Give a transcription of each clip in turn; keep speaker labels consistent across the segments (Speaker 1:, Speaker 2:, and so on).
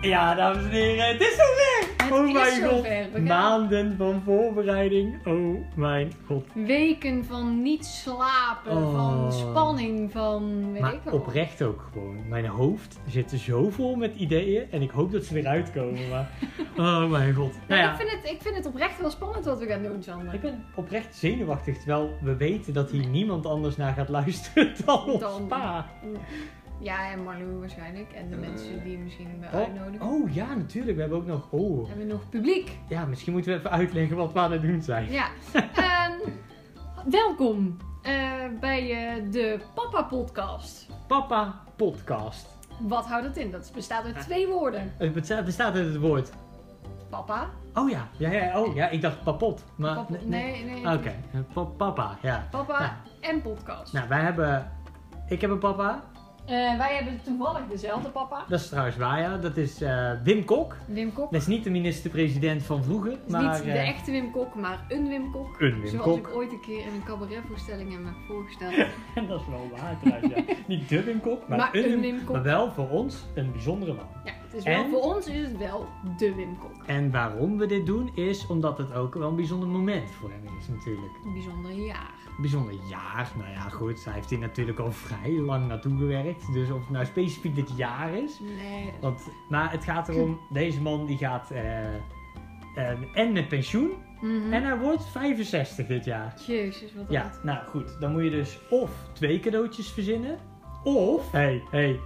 Speaker 1: Ja, dames en heren, het is zover!
Speaker 2: Het
Speaker 1: oh
Speaker 2: is
Speaker 1: mijn god, Nou.
Speaker 2: zover. We gaan-
Speaker 1: maanden van voorbereiding. Oh mijn god.
Speaker 2: Weken van niet slapen,
Speaker 1: Oh.
Speaker 2: van spanning, van weet ik
Speaker 1: Maar
Speaker 2: wat.
Speaker 1: oprecht ook gewoon. Mijn hoofd zit zo vol met ideeën en ik hoop dat ze eruit komen. Maar oh mijn god.
Speaker 2: Nou,
Speaker 1: Nou ja,
Speaker 2: ik, vind het, ik vind het oprecht wel spannend wat we gaan doen,
Speaker 1: ik
Speaker 2: Sander.
Speaker 1: ben oprecht zenuwachtig, terwijl we weten dat hier niemand anders naar gaat luisteren dan ons
Speaker 2: Dan-
Speaker 1: pa.
Speaker 2: Ja, en Marlou waarschijnlijk. En de
Speaker 1: Eh.
Speaker 2: mensen die misschien hebben
Speaker 1: Oh,
Speaker 2: uitnodigen.
Speaker 1: oh ja, natuurlijk. We hebben ook nog. Oh,
Speaker 2: Hebben we nog publiek?
Speaker 1: ja, misschien moeten we even uitleggen wat we aan het doen zijn.
Speaker 2: Ja. Ehm, welkom eh, bij eh, de Papa Podcast.
Speaker 1: Papa Podcast.
Speaker 2: Wat houdt dat in? Dat bestaat
Speaker 1: Ah.
Speaker 2: uit twee woorden.
Speaker 1: Het besta- bestaat uit het woord
Speaker 2: Papa.
Speaker 1: Oh ja, ja, ja, oh, ja ik dacht papot. Maar,
Speaker 2: papa nee, nee.
Speaker 1: Ah, Oké, Eh, pa- papa, ja.
Speaker 2: Papa
Speaker 1: Ja.
Speaker 2: en podcast.
Speaker 1: Nou, wij hebben... Ik heb een papa.
Speaker 2: Eh, wij hebben toevallig dezelfde papa.
Speaker 1: Dat is trouwens waar, ja. Dat is eh, Wim Kok.
Speaker 2: Wim Kok.
Speaker 1: Dat is niet de minister-president van vroeger.
Speaker 2: Het is
Speaker 1: Maar,
Speaker 2: niet de
Speaker 1: eh,
Speaker 2: echte Wim Kok, maar een Wim Kok.
Speaker 1: Een Wim
Speaker 2: Zoals
Speaker 1: Kok.
Speaker 2: ik ooit een keer in een cabaretvoorstelling hem heb voorgesteld.
Speaker 1: dat is wel waar trouwens, ja. Niet de Wim Kok, maar,
Speaker 2: Maar
Speaker 1: een Wim,
Speaker 2: een Wim Kok.
Speaker 1: Maar wel voor ons een bijzondere man.
Speaker 2: Ja, het is wel,
Speaker 1: En?
Speaker 2: voor ons is het wel de Wim Kok.
Speaker 1: En waarom we dit doen is omdat het ook wel een bijzonder moment voor hem is natuurlijk.
Speaker 2: Een bijzonder jaar.
Speaker 1: Een bijzonder jaar, nou ja goed, hij heeft hier natuurlijk al vrij lang naartoe gewerkt. Dus of het nou specifiek dit jaar is,
Speaker 2: Nee, dat
Speaker 1: Want, maar het gaat erom, deze man die gaat eh, eh, en met pensioen
Speaker 2: Mhm.
Speaker 1: en hij wordt 65 dit jaar.
Speaker 2: Jezus, wat
Speaker 1: Ja,
Speaker 2: dat.
Speaker 1: nou goed, dan moet je dus of twee cadeautjes verzinnen, of, hey, hey,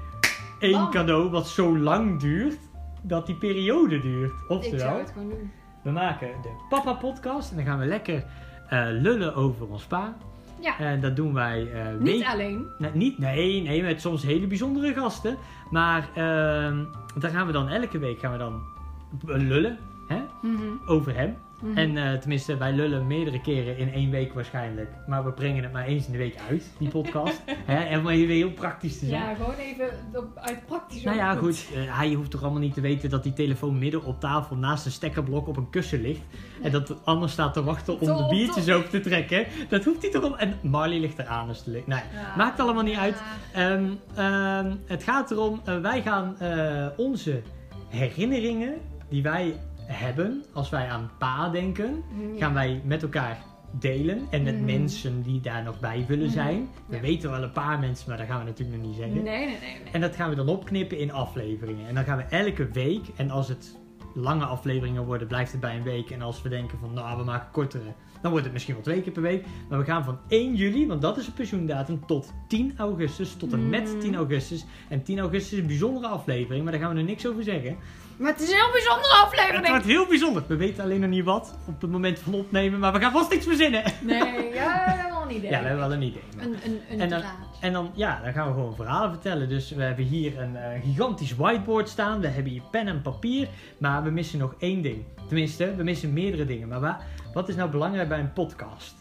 Speaker 1: één
Speaker 2: Bam.
Speaker 1: cadeau wat zo lang duurt dat die periode duurt.
Speaker 2: Ik zou
Speaker 1: Oftewel,
Speaker 2: het gewoon doen.
Speaker 1: we maken de Papa Podcast en dan gaan we lekker eh, lullen over ons pa.
Speaker 2: Ja,
Speaker 1: En dat doen wij eh
Speaker 2: niet
Speaker 1: week-
Speaker 2: alleen.
Speaker 1: Nee, niet, nee, nee, met soms hele bijzondere gasten. Maar ehm, daar gaan we dan elke week gaan we dan lullen hè,
Speaker 2: Mhm,
Speaker 1: over hem.
Speaker 2: mhm.
Speaker 1: En eh, tenminste, wij lullen meerdere keren in één week waarschijnlijk. Maar we brengen het maar eens in de week uit, die podcast. hè, en om even heel praktisch te zijn.
Speaker 2: ja, gewoon even op- uit praktisch
Speaker 1: nou ja,
Speaker 2: opvoed.
Speaker 1: goed. eh, hij hoeft toch allemaal niet te weten dat die telefoon midden op tafel naast een stekkerblok op een kussen ligt. En dat Anne staat te wachten om
Speaker 2: Toch,
Speaker 1: de biertjes
Speaker 2: toch.
Speaker 1: over te trekken. Dat hoeft hij toch om. En Marley ligt eraan dus te liggen. Nou, ja,
Speaker 2: Ja.
Speaker 1: maakt allemaal niet uit.
Speaker 2: Ja.
Speaker 1: Ehm, ehm, het gaat erom, eh, wij gaan eh, onze herinneringen die wij hebben als wij aan pa denken,
Speaker 2: Ja.
Speaker 1: gaan wij met elkaar delen en met
Speaker 2: Mhm.
Speaker 1: mensen die daar nog bij willen
Speaker 2: Mhm.
Speaker 1: zijn. We
Speaker 2: Ja.
Speaker 1: weten wel een paar mensen, maar dat gaan we natuurlijk nog niet
Speaker 2: Nee,
Speaker 1: zeggen.
Speaker 2: nee, nee. nee.
Speaker 1: En dat gaan we dan opknippen in afleveringen. En dan gaan we elke week, en als het lange afleveringen worden, blijft het bij een week. En als we denken van, nou, we maken kortere, dan wordt het misschien wel twee keer per week. Maar we gaan van 1 juli, want dat is de pensioendatum, tot 10 augustus, tot en met
Speaker 2: Mm.
Speaker 1: 10 augustus. En 10 augustus is een bijzondere aflevering, maar daar gaan we er niks over zeggen.
Speaker 2: Maar het is een heel bijzondere
Speaker 1: Het
Speaker 2: aflevering.
Speaker 1: wordt heel bijzonder. We weten alleen nog niet wat op het moment van opnemen, maar we gaan vast niks verzinnen.
Speaker 2: Nee, ja, dat hebben we al een idee.
Speaker 1: Ja, we hebben wel een idee. maar-
Speaker 2: Een, een, een
Speaker 1: En dan-
Speaker 2: draad.
Speaker 1: En dan, ja, dan gaan we gewoon verhalen vertellen. Dus we hebben hier een eh, gigantisch whiteboard staan. We hebben hier pen en papier. Maar we missen nog één ding. Tenminste, we missen meerdere dingen. Maar wa- wat is nou belangrijk bij een podcast?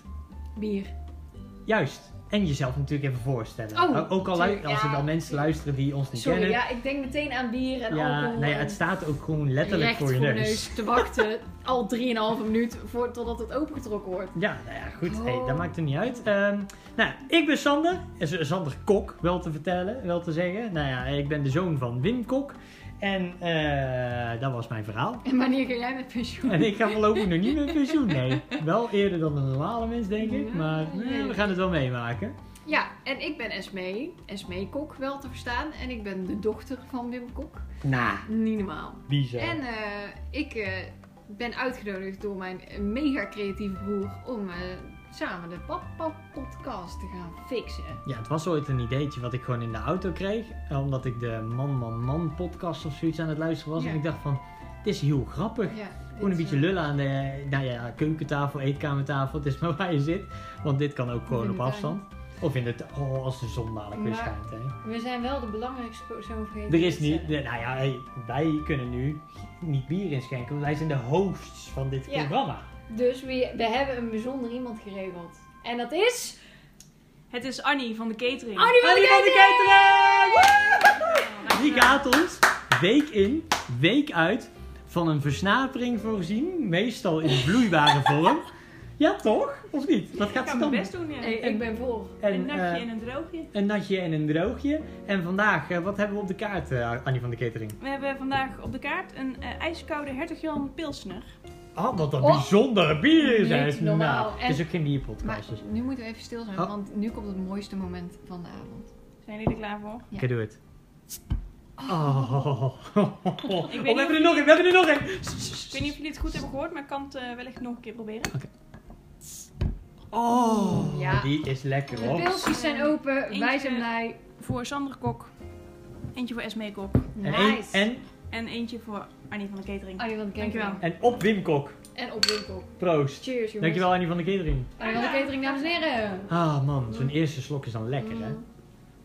Speaker 2: Bier.
Speaker 1: Juist. En jezelf natuurlijk even voorstellen.
Speaker 2: Oh,
Speaker 1: O- ook al lu-
Speaker 2: tuurlijk,
Speaker 1: als er
Speaker 2: ja.
Speaker 1: wel mensen luisteren die ons niet
Speaker 2: Sorry,
Speaker 1: kennen.
Speaker 2: ja, ik denk meteen aan bier en
Speaker 1: Ja,
Speaker 2: alcohol.
Speaker 1: nou ja,
Speaker 2: en
Speaker 1: het staat ook gewoon letterlijk
Speaker 2: recht
Speaker 1: voor je neus.
Speaker 2: te wachten. al 3,5 minuut voor, totdat het opengetrokken wordt.
Speaker 1: Ja, nou ja, goed.
Speaker 2: Oh.
Speaker 1: Hey, dat maakt er niet uit. Ehm, nou, ik ben Sander. Eh, Sander Kok, wel te vertellen, wel te zeggen. Nou ja, ik ben de zoon van Wim Kok. En eh, dat was mijn verhaal.
Speaker 2: En wanneer ga jij met pensioen?
Speaker 1: En ik ga voorlopig nog niet met pensioen, nee. Wel eerder dan een normale mens, denk ik. Maar eh, we gaan het wel meemaken.
Speaker 2: Ja, en ik ben Esmee. Esmee Kok wel te verstaan. En ik ben de dochter van Wim Kok.
Speaker 1: Nou,
Speaker 2: Niet normaal.
Speaker 1: bizar.
Speaker 2: En eh, ik eh, ben uitgenodigd door mijn mega creatieve broer om eh, samen de Papa Podcast te gaan fixen.
Speaker 1: Ja, het was ooit een ideetje wat ik gewoon in de auto kreeg. Omdat ik de Man Man Man podcast of zoiets aan het luisteren was.
Speaker 2: Ja.
Speaker 1: En ik dacht van, dit is heel grappig.
Speaker 2: Ja,
Speaker 1: Gewoon een
Speaker 2: dit,
Speaker 1: beetje
Speaker 2: eh,
Speaker 1: lullen aan de nou ja, keukentafel, eetkamertafel. Het is maar waar je zit. Want dit kan ook gewoon
Speaker 2: in
Speaker 1: op
Speaker 2: de tuin.
Speaker 1: afstand. Of in het... Oh, als de zon dadelijk weer
Speaker 2: Maar-
Speaker 1: schijnt. Hè.
Speaker 2: We zijn wel de belangrijkste persoon vergeten. eh,
Speaker 1: Er is
Speaker 2: te
Speaker 1: niet...
Speaker 2: stellen.
Speaker 1: Nou ja, hey, wij kunnen nu niet bier inschenken. Want wij zijn de hosts van dit
Speaker 2: Ja.
Speaker 1: programma.
Speaker 2: Dus we, we hebben een bijzonder iemand geregeld. En dat is...
Speaker 3: Het is Annie van de catering. Oh,
Speaker 2: Annie van
Speaker 1: Annie van de
Speaker 2: de
Speaker 1: Catering!
Speaker 3: Ja.
Speaker 1: Die gaat ons week in, week uit van een versnapering voorzien. Meestal in vloeibare vorm. Ja, toch? Of niet? Dat
Speaker 3: Ik
Speaker 1: gaat
Speaker 3: ga
Speaker 1: ze
Speaker 3: mijn
Speaker 1: dan.
Speaker 3: best doen, ja.
Speaker 2: Hey, ik ben voor.
Speaker 3: een
Speaker 1: En,
Speaker 3: natje
Speaker 1: eh,
Speaker 3: en een droogje.
Speaker 1: een natje en een droogje. En vandaag, eh, wat hebben we op de kaart, eh, Annie van de Catering?
Speaker 3: We hebben vandaag op de kaart een eh, ijskoude Hertog Jan Pilsner.
Speaker 1: Oh, wat een
Speaker 2: Oh,
Speaker 1: bijzondere bier is
Speaker 2: niet
Speaker 1: het.
Speaker 2: normaal.
Speaker 1: Nou, het is
Speaker 2: En-
Speaker 1: ook geen
Speaker 2: Maar
Speaker 1: bierpodcast. Dus.
Speaker 2: nu moeten we even stil zijn,
Speaker 1: Oh.
Speaker 2: want nu komt het mooiste moment van de avond.
Speaker 3: Zijn jullie er klaar voor?
Speaker 1: Oké, doe het. Oh. Oh,
Speaker 3: niet
Speaker 1: we hebben
Speaker 3: of
Speaker 1: er nog
Speaker 3: je-
Speaker 1: een, we hebben er nog een.
Speaker 3: Ik weet niet of jullie het goed hebben gehoord, maar ik kan het eh, wellicht nog een keer proberen.
Speaker 1: Oh,
Speaker 2: Ja.
Speaker 1: die is lekker
Speaker 2: De
Speaker 1: hoor.
Speaker 2: pilsjes zijn open,
Speaker 3: Eentje.
Speaker 2: wij zijn blij.
Speaker 3: Voor Sander Kok, eentje voor Esmee Kok
Speaker 1: En, één-
Speaker 2: Nice.
Speaker 1: en,
Speaker 3: en eentje voor Annie van de Catering.
Speaker 2: Arjen van de Catering.
Speaker 3: Dankjewel.
Speaker 1: en op Wim Kok.
Speaker 2: En op winkel.
Speaker 1: Proost.
Speaker 2: Cheers jongens.
Speaker 1: Dankjewel Annie van de Catering.
Speaker 2: Arjen van de Catering, dames en heren.
Speaker 1: Ah man, zo'n eerste slok is dan lekker hè.
Speaker 2: Mm.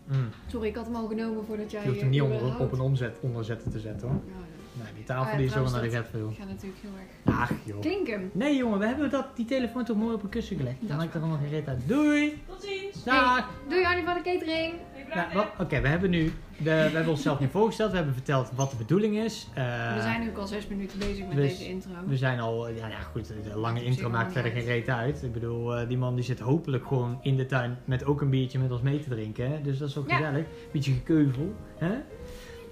Speaker 1: Mm.
Speaker 2: Sorry, ik had hem al genomen voordat jij... eh,
Speaker 1: Je hoeft hem niet onder, op een omzet, onderzetten te zetten hoor.
Speaker 2: Ja,
Speaker 1: Nee, die tafel
Speaker 2: Ah,
Speaker 1: die is zo
Speaker 2: trouwens,
Speaker 1: naar de
Speaker 2: dat-
Speaker 1: red veel.
Speaker 2: ik ga natuurlijk heel erg...
Speaker 1: Ach joh.
Speaker 2: Klinken.
Speaker 1: Nee jongen, we hebben dat, die telefoon toch mooi op een kussen gelegd.
Speaker 2: Dat
Speaker 1: Dan
Speaker 2: is
Speaker 1: maakt er
Speaker 2: waar.
Speaker 1: allemaal geen reet uit. Doei!
Speaker 3: Tot ziens!
Speaker 1: Dag!
Speaker 2: Doei Arjen van de Catering.
Speaker 1: Nou, wat- Oké, we hebben nu, de, we hebben onszelf nu voorgesteld. We hebben verteld wat de bedoeling is. Eh,
Speaker 2: we zijn nu al zes minuten bezig met
Speaker 1: dus-
Speaker 2: deze intro.
Speaker 1: we zijn al, ja, ja goed, de lange
Speaker 2: op
Speaker 1: intro
Speaker 2: zich
Speaker 1: maakt
Speaker 2: wel
Speaker 1: verder geen
Speaker 2: niet
Speaker 1: reet uit. Ik bedoel, eh, die man die zit hopelijk gewoon in de tuin met ook een biertje met ons mee te drinken. Hè? Dus dat is ook
Speaker 2: Ja.
Speaker 1: gezellig. Beetje gekeuvel. Hè?
Speaker 2: Ik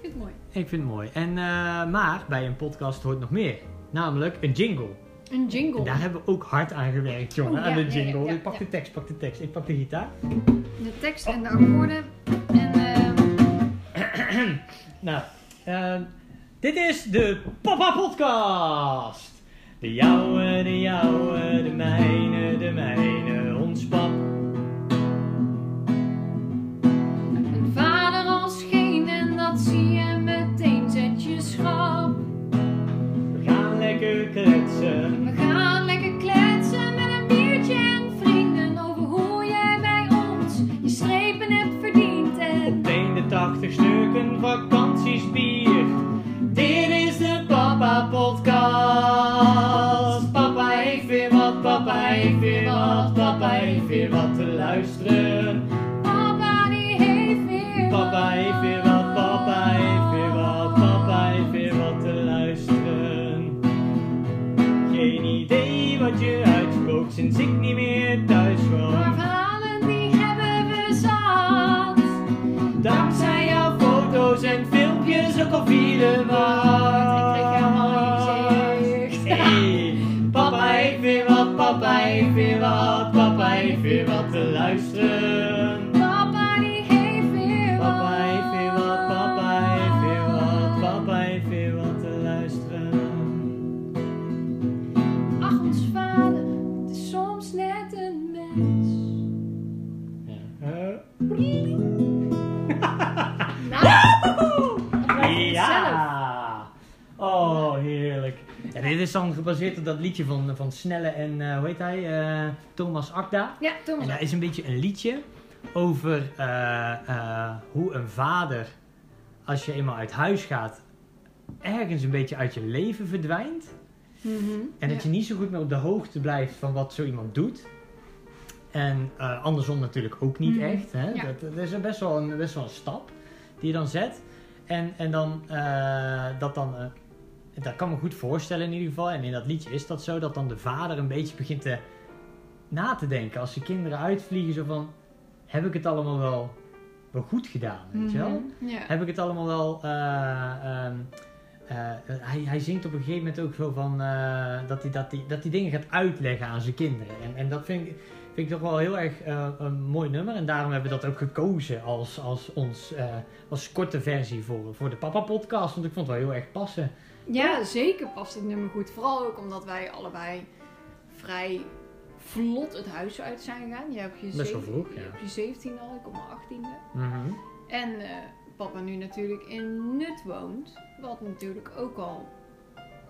Speaker 2: vind het mooi.
Speaker 1: Ik vind het mooi. En, eh, maar bij een podcast hoort nog meer. Namelijk een jingle.
Speaker 2: Een jingle.
Speaker 1: En daar hebben we ook hard aan gewerkt, jongen.
Speaker 2: Oh,
Speaker 1: aan
Speaker 2: ja,
Speaker 1: de
Speaker 2: ja, ja,
Speaker 1: jingle.
Speaker 2: ja,
Speaker 1: ik pak
Speaker 2: ja.
Speaker 1: de tekst, pak de tekst. Ik pak de gitaar.
Speaker 2: De tekst en de akkoorden. En ehm,
Speaker 1: Nou, ehm, dit is de Papa Podcast. De jouwe, de jouwe, de mijne, de mijne, ons pap.
Speaker 2: een vader als geen en dat zie je meteen, zet je schrap.
Speaker 1: We gaan lekker kletsen.
Speaker 2: We gaan lekker kletsen met een biertje en vrienden over hoe jij bij ons je strepen hebt verdiend. En
Speaker 1: Op 81 stukken vakantiesbier. Dit is de Papa Podcast. Papa heeft weer wat, papa heeft weer wat, papa heeft weer wat te luisteren.
Speaker 2: papa die heeft weer
Speaker 1: Papa heeft weer wat, papa heeft weer wat, papa heeft weer wat te luisteren. Geen idee wat je uitspookt sinds ik niet meer thuis
Speaker 2: Maar
Speaker 1: woon.
Speaker 2: verhalen die hebben we zat.
Speaker 1: Dankzij jouw foto's en filmpjes ook al vierde
Speaker 2: Ik kreeg helemaal
Speaker 1: waard.
Speaker 2: niet gezegd.
Speaker 1: Hey, papa heeft weer wat, papa heeft weer wat, papa heeft weer wat te luisteren.
Speaker 2: Papa die heeft weer wat.
Speaker 1: Papa heeft weer wat, papa heeft weer wat, papa heeft weer wat te luisteren.
Speaker 2: Ach, ons vader, het is soms net een mens.
Speaker 1: Ja.
Speaker 2: Nou, dat blijft het zelf.
Speaker 1: Ja! Oh, heerlijk. En dit is dan gebaseerd op dat liedje van, van Snelle en, eh, hoe heet hij, Eh, Thomas Akda.
Speaker 2: Ja,
Speaker 1: En
Speaker 2: Thomas.
Speaker 1: dat is een beetje een liedje over eh, eh, hoe een vader, als je eenmaal uit huis gaat, ergens een beetje uit je leven verdwijnt.
Speaker 2: Mhm.
Speaker 1: En dat je
Speaker 2: Ja.
Speaker 1: niet zo goed meer op de hoogte blijft van wat zo iemand doet. En eh, andersom natuurlijk ook niet
Speaker 2: Mhm.
Speaker 1: echt. Hè?
Speaker 2: Ja.
Speaker 1: Dat, dat is een best, wel een, best wel een stap die je dan zet. En, en dan, eh, dat dan, eh, dat kan me goed voorstellen in ieder geval. En in dat liedje is dat zo, dat dan de vader een beetje begint te, na te denken. Als de kinderen uitvliegen, zo van, heb ik het allemaal wel, wel goed gedaan, weet je wel?
Speaker 2: Mhm. Ja.
Speaker 1: heb ik het allemaal wel. eh, ehm, eh, hij, hij zingt op een gegeven moment ook zo van. eh, dat, hij, dat, hij, dat hij dingen gaat uitleggen aan zijn kinderen. En, en dat vind ik, vind ik toch wel heel erg eh, een mooi nummer. En daarom hebben we dat ook gekozen als, als, ons, eh, als korte versie voor, voor de Papa-podcast. Want ik vond het wel heel erg passen.
Speaker 2: Ja, zeker past dit nummer goed. Vooral ook omdat wij allebei vrij vlot het huis uit zijn gegaan. Jij op je,
Speaker 1: Best wel
Speaker 2: zeven-
Speaker 1: vroeg, ja.
Speaker 2: je op je 17 al, ik op mijn 18e. En eh, papa nu natuurlijk in Nut woont. Wat natuurlijk ook al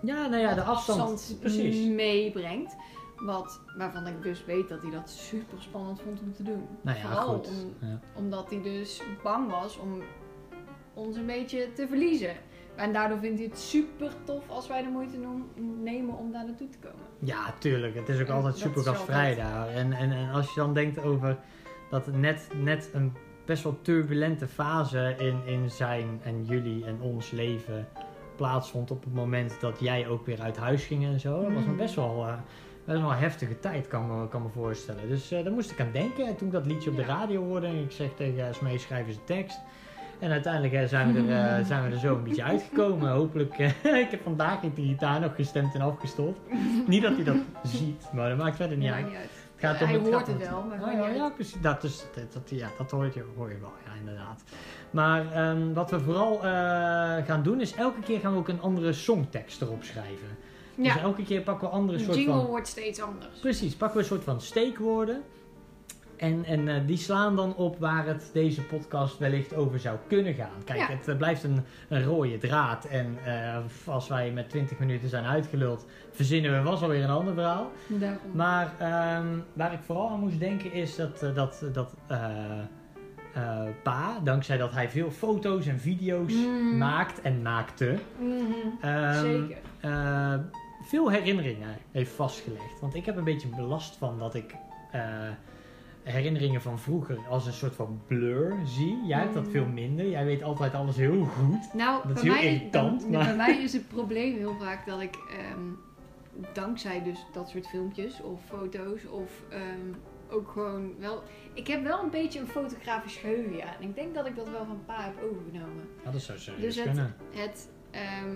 Speaker 1: Ja, nou ja, de afstand.
Speaker 2: Mm.
Speaker 1: Precies.
Speaker 2: meebrengt. Wat, waarvan ik dus weet dat hij dat super spannend vond om te doen.
Speaker 1: Nou ja,
Speaker 2: Vooral
Speaker 1: goed.
Speaker 2: om-
Speaker 1: Ja.
Speaker 2: omdat hij dus bang was om ons een beetje te verliezen. En daardoor vindt hij het super tof als wij de moeite noem- nemen om daar naartoe te komen.
Speaker 1: Ja, tuurlijk. Het is ook
Speaker 2: En
Speaker 1: altijd
Speaker 2: dat
Speaker 1: super
Speaker 2: is wel
Speaker 1: gastvrij
Speaker 2: goed.
Speaker 1: daar. En, en, en als je dan denkt over dat net, net een best wel turbulente fase in, in zijn en jullie en ons leven plaatsvond op het moment dat jij ook weer uit huis ging en zo. Dat was een
Speaker 2: Mhm.
Speaker 1: best wel eh, Dat is wel een heftige tijd, kan me, kan me voorstellen. Dus eh, daar moest ik aan denken. En toen ik dat liedje op de
Speaker 2: Ja.
Speaker 1: radio hoorde en ik zeg tegen eh, Smee, schrijf eens een tekst. En uiteindelijk eh, zijn, we er, eh, zijn we er zo een beetje uitgekomen. Hopelijk, eh, ik heb vandaag de gitaar nog gestemd en afgestopt. niet dat hij dat ziet, maar dat maakt verder niet
Speaker 2: Ja,
Speaker 1: uit.
Speaker 2: niet uit.
Speaker 1: Het gaat om
Speaker 2: Hij
Speaker 1: het
Speaker 2: hoort
Speaker 1: grappige.
Speaker 2: het wel, maar
Speaker 1: Oh,
Speaker 2: gewoon
Speaker 1: ja,
Speaker 2: niet
Speaker 1: ja,
Speaker 2: uit.
Speaker 1: precies. Dat, is, dat, dat- ja, dat hoor, je, hoor je wel, ja, inderdaad. Maar ehm, wat we vooral eh, gaan doen is elke keer gaan we ook een andere songtekst erop schrijven.
Speaker 2: Ja,
Speaker 1: Dus elke keer pakken we andere
Speaker 2: de
Speaker 1: soort
Speaker 2: jingle
Speaker 1: van...
Speaker 2: wordt steeds anders.
Speaker 1: Precies, pakken we een soort van steekwoorden. En, en eh, die slaan dan op waar het deze podcast wellicht over zou kunnen gaan. Kijk,
Speaker 2: Ja.
Speaker 1: het eh, blijft een, een rode draad. En eh, als wij met 20 minuten zijn uitgeluld, verzinnen we was alweer een ander verhaal.
Speaker 2: Daarom.
Speaker 1: Maar ehm, waar ik vooral aan moest denken is dat, eh, dat, dat eh, eh, Pa, dankzij dat hij veel foto's en video's
Speaker 2: Mm.
Speaker 1: maakt en maakte,
Speaker 2: Mhm,
Speaker 1: ehm,
Speaker 2: Zeker.
Speaker 1: eh, veel herinneringen heeft vastgelegd. Want ik heb een beetje last van dat ik eh, herinneringen van vroeger als een soort van blur zie. Jij hebt dat
Speaker 2: Mm.
Speaker 1: veel minder. Jij weet altijd alles heel goed.
Speaker 2: Nou,
Speaker 1: Dat is
Speaker 2: bij,
Speaker 1: heel
Speaker 2: mij
Speaker 1: irritant,
Speaker 2: bij-
Speaker 1: maar-
Speaker 2: bij mij is het probleem heel vaak dat ik ehm, dankzij dus dat soort filmpjes of foto's of ehm, ook gewoon wel... Ik heb wel een beetje een fotografisch geheugen, ja. En ik denk dat ik dat wel van pa heb overgenomen.
Speaker 1: Ja, dat zou serieus
Speaker 2: Dus het-
Speaker 1: kunnen.
Speaker 2: Het, ehm,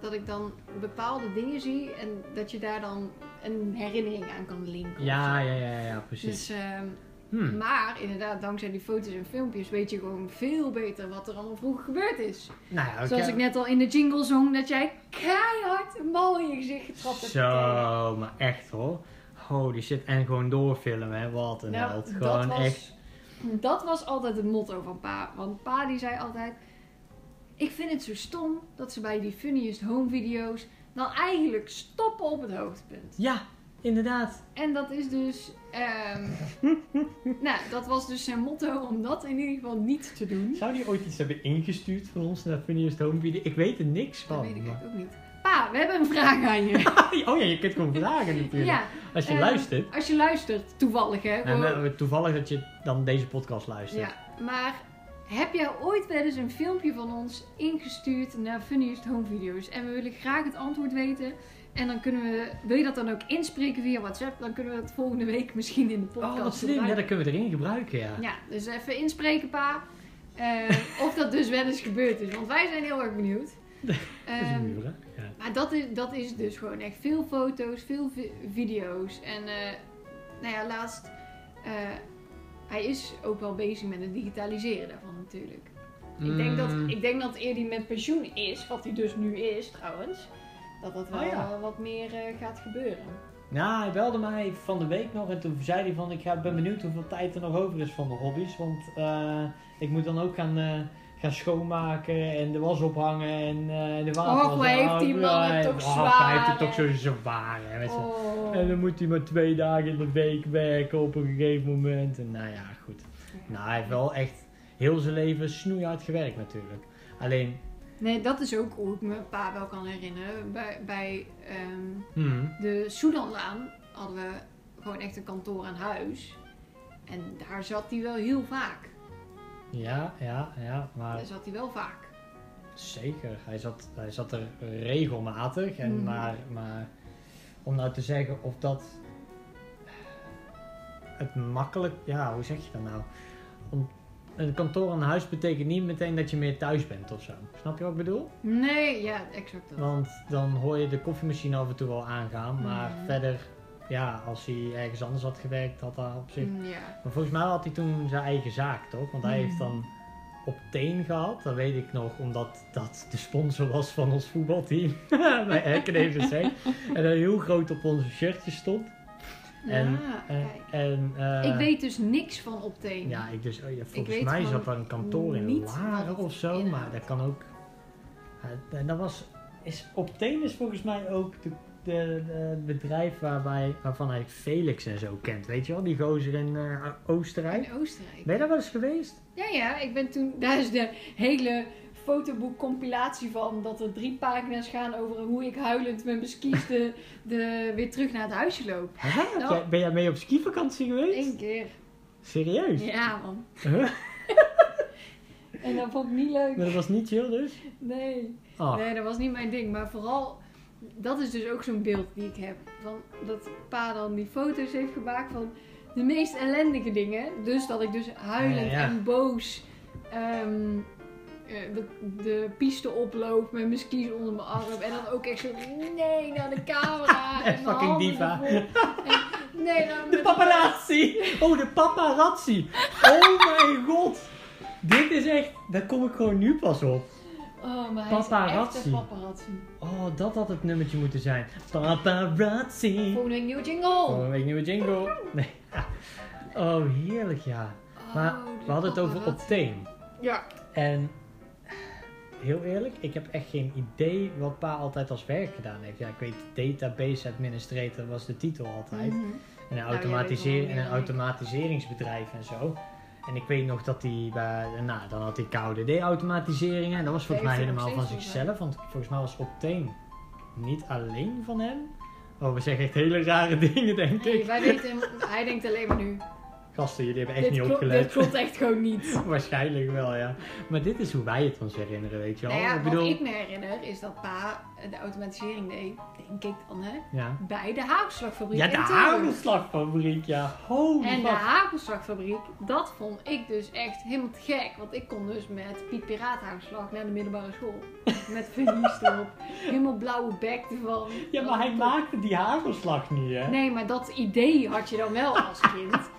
Speaker 2: dat ik dan bepaalde dingen zie en dat je daar dan een herinnering aan kan linken.
Speaker 1: Ja,
Speaker 2: of zo.
Speaker 1: ja, ja, ja, precies.
Speaker 2: Dus, ehm,
Speaker 1: Hmm.
Speaker 2: Maar inderdaad, dankzij die foto's en filmpjes weet je gewoon veel beter wat er allemaal vroeger gebeurd is.
Speaker 1: Nou ja, oké.
Speaker 2: Zoals ik net al in de jingle zong, dat jij keihard een bal in je gezicht getrapt hebt. gekregen.
Speaker 1: Zo, maar echt hoor. Holy shit. En gewoon doorfilmen, hè. Wat een
Speaker 2: Nou,
Speaker 1: held.
Speaker 2: dat
Speaker 1: Gewoon
Speaker 2: was-
Speaker 1: echt.
Speaker 2: Dat was altijd het motto van pa. Want pa die zei altijd, ik vind het zo stom dat ze bij die funniest home video's dan eigenlijk stoppen op het hoogtepunt.
Speaker 1: Ja, inderdaad.
Speaker 2: En dat is dus, ehm, nou dat was dus zijn motto om dat in ieder geval niet te doen.
Speaker 1: Zou die ooit iets hebben ingestuurd van ons naar Funniest Home Video? Ik weet er niks van.
Speaker 2: Dat weet ik
Speaker 1: maar-
Speaker 2: eigenlijk ook niet. Pa, we hebben een vraag aan je.
Speaker 1: Oh ja, je kunt gewoon vragen natuurlijk.
Speaker 2: ja,
Speaker 1: Als je
Speaker 2: eh,
Speaker 1: luistert.
Speaker 2: Als je luistert, toevallig hè.
Speaker 1: En
Speaker 2: gewoon-
Speaker 1: eh, toevallig dat je dan deze podcast luistert.
Speaker 2: Ja, maar heb jij ooit wel eens een filmpje van ons ingestuurd naar Funniest Home Video's? En we willen graag het antwoord weten. En dan kunnen we, wil je dat dan ook inspreken via WhatsApp? Dan kunnen we het volgende week misschien in de podcast
Speaker 1: Oh, wat slim. Ja,
Speaker 2: gebruiken.
Speaker 1: dat kunnen we erin gebruiken, ja.
Speaker 2: Ja, dus even inspreken, pa. Eh, of dat dus wel eens gebeurd is, want wij zijn heel erg benieuwd.
Speaker 1: Dat is een
Speaker 2: Ehm,
Speaker 1: nieuwe vraag. Ja.
Speaker 2: maar dat is, dat is dus gewoon echt veel foto's, veel vi- video's. En eh, nou ja, laatst. eh, hij is ook wel bezig met het digitaliseren daarvan natuurlijk. Ik, denk
Speaker 1: Mm,
Speaker 2: dat, ik denk dat eer die met pensioen is, wat hij dus nu is trouwens, dat dat wel
Speaker 1: Oh ja.
Speaker 2: eh, wat meer eh, gaat gebeuren.
Speaker 1: Nou, hij belde mij van de week nog en toen zei hij van ik ga, ben benieuwd hoeveel tijd er nog over is van de hobby's. Want eh, ik moet dan ook gaan, eh, gaan schoonmaken en de was ophangen en eh, de water.
Speaker 2: Och, heeft die man het toch
Speaker 1: Hij heeft het
Speaker 2: zwaar,
Speaker 1: toch zo zwaar. Hè, met z'n-
Speaker 2: Oh.
Speaker 1: En dan moet hij maar twee dagen in de week werken op een gegeven moment. En nou ja, goed. Nou, hij heeft wel echt heel zijn leven snoeihard gewerkt natuurlijk. Alleen,
Speaker 2: Nee, dat is ook hoe ik me pa wel kan herinneren. Bij, bij ehm,
Speaker 1: hmm,
Speaker 2: De Soedanlaan hadden we gewoon echt een kantoor aan huis. En daar zat hij wel heel vaak.
Speaker 1: ja, ja, ja, maar
Speaker 2: Daar zat hij wel vaak.
Speaker 1: zeker. Hij zat, hij zat er regelmatig. En
Speaker 2: Mhm.
Speaker 1: maar, maar om nou te zeggen of dat het makkelijk, ja, hoe zeg je dat nou? Om, een kantoor aan huis betekent niet meteen dat je meer thuis bent of zo. Snap je wat ik bedoel?
Speaker 2: Nee, ja, exact dat.
Speaker 1: Want dan hoor je de koffiemachine af en toe wel aangaan. Maar
Speaker 2: Mhm.
Speaker 1: verder, ja, als hij ergens anders had gewerkt, had hij op zich.
Speaker 2: Mm, Ja.
Speaker 1: Maar volgens mij had hij toen zijn eigen zaak, toch? Want hij
Speaker 2: Mhm.
Speaker 1: heeft dan op teen gehad. Dat weet ik nog, omdat dat de sponsor was van ons voetbalteam. Bij Hekken EVC. En dat heel groot op onze shirtjes stond. En-
Speaker 2: Ja,
Speaker 1: En,
Speaker 2: kijk.
Speaker 1: en, eh,
Speaker 2: ik weet dus niks van opteen.
Speaker 1: Ja, ik dus, oh ja, volgens
Speaker 2: weet
Speaker 1: mij
Speaker 2: gewoon
Speaker 1: zat daar een kantoor in
Speaker 2: niet
Speaker 1: Laren
Speaker 2: wat
Speaker 1: of zo. Maar
Speaker 2: inhoudt.
Speaker 1: dat kan ook. Eh, en dat was. Is, op Teen is volgens mij ook de, de, de- het bedrijf waarbij, waarvan hij Felix en zo kent. Weet je wel, die gozer in eh, Oostenrijk.
Speaker 2: In Oostenrijk.
Speaker 1: Ben je daar wel eens geweest?
Speaker 2: Ja, ja, ik ben toen... Daar is de hele fotoboekcompilatie van. Dat er drie pagina's gaan over hoe ik huilend met mijn skis de, de, weer terug naar het huisje loop.
Speaker 1: Hè? Heb
Speaker 2: Nou.
Speaker 1: jij- Ben jij mee op skivakantie geweest?
Speaker 2: Eén keer.
Speaker 1: Serieus?
Speaker 2: Ja, man.
Speaker 1: Huh?
Speaker 2: En dat vond ik niet leuk.
Speaker 1: Maar dat was niet chill dus?
Speaker 2: Nee.
Speaker 1: Oh,
Speaker 2: Nee, dat was niet mijn ding. Maar vooral dat is dus ook zo'n beeld die ik heb. Van dat pa dan die foto's heeft gemaakt van de meest ellendige dingen. Dus dat ik dus huilend
Speaker 1: Ja, ja.
Speaker 2: en boos ehm, eh, de, de piste oploop met mijn skis onder mijn arm. En dan ook echt zo, nee, naar de camera.
Speaker 1: En
Speaker 2: mijn
Speaker 1: fucking
Speaker 2: handen
Speaker 1: diva.
Speaker 2: ervoor. En, nee, nou, naar
Speaker 1: De paparazzi! Oh, de paparazzi! Oh mijn god! Dit is echt... Daar kom ik gewoon nu pas op.
Speaker 2: Oh, maar hij is echt
Speaker 1: Paparazzi.
Speaker 2: een paparazzi.
Speaker 1: Oh, dat had het nummertje moeten zijn. Paparazzi!
Speaker 2: Volgende week nieuwe jingle.
Speaker 1: Oh, een nieuwe jingle. Nee. Oh, heerlijk ja. Maar
Speaker 2: Oh, de
Speaker 1: we hadden het over
Speaker 2: paparazzi.
Speaker 1: Opteen.
Speaker 2: Ja.
Speaker 1: En heel eerlijk, ik heb echt geen idee wat pa altijd als werk gedaan heeft. Ja, ik weet database administrator was de titel altijd.
Speaker 2: Mhm.
Speaker 1: En een,
Speaker 2: Nou, jij
Speaker 1: automatiseer,
Speaker 2: weet wel
Speaker 1: en een
Speaker 2: meer.
Speaker 1: automatiseringsbedrijf en zo. En ik weet nog dat hij, bij- nou dan had hij KODD-automatiseringen. En dat was volgens
Speaker 2: Daar
Speaker 1: mij
Speaker 2: heeft hij nog
Speaker 1: helemaal van
Speaker 2: steeds van,
Speaker 1: zichzelf. Want volgens mij was Opteen niet alleen van hem. Oh, we zeggen echt hele rare dingen, denk
Speaker 2: Nee,
Speaker 1: ik.
Speaker 2: wij weten, hij denkt alleen maar nu.
Speaker 1: Gasten, jullie hebben echt
Speaker 2: dit,
Speaker 1: niet
Speaker 2: klopt- dit
Speaker 1: opgelet.
Speaker 2: klopt echt gewoon niet.
Speaker 1: Waarschijnlijk wel, ja. Maar dit is hoe wij het ons herinneren, weet je wel.
Speaker 2: nou ja,
Speaker 1: ik bedoel,
Speaker 2: wat ik me herinner is dat pa de automatisering deed, denk ik dan hè,
Speaker 1: ja.
Speaker 2: bij de hagelslagfabriek
Speaker 1: ja,
Speaker 2: in
Speaker 1: de
Speaker 2: Tilburg.
Speaker 1: hagelslagfabriek, ja. Holy
Speaker 2: En de
Speaker 1: fuck.
Speaker 2: hagelslagfabriek, dat vond ik dus echt helemaal te gek. Want ik kon dus met Piet Piraat hagelslag naar de middelbare school. Met verlies erop. Helemaal blauwe bek ervan.
Speaker 1: Ja, maar hij maakte die hagelslag niet, hè.
Speaker 2: Nee, maar dat idee had je dan wel als kind.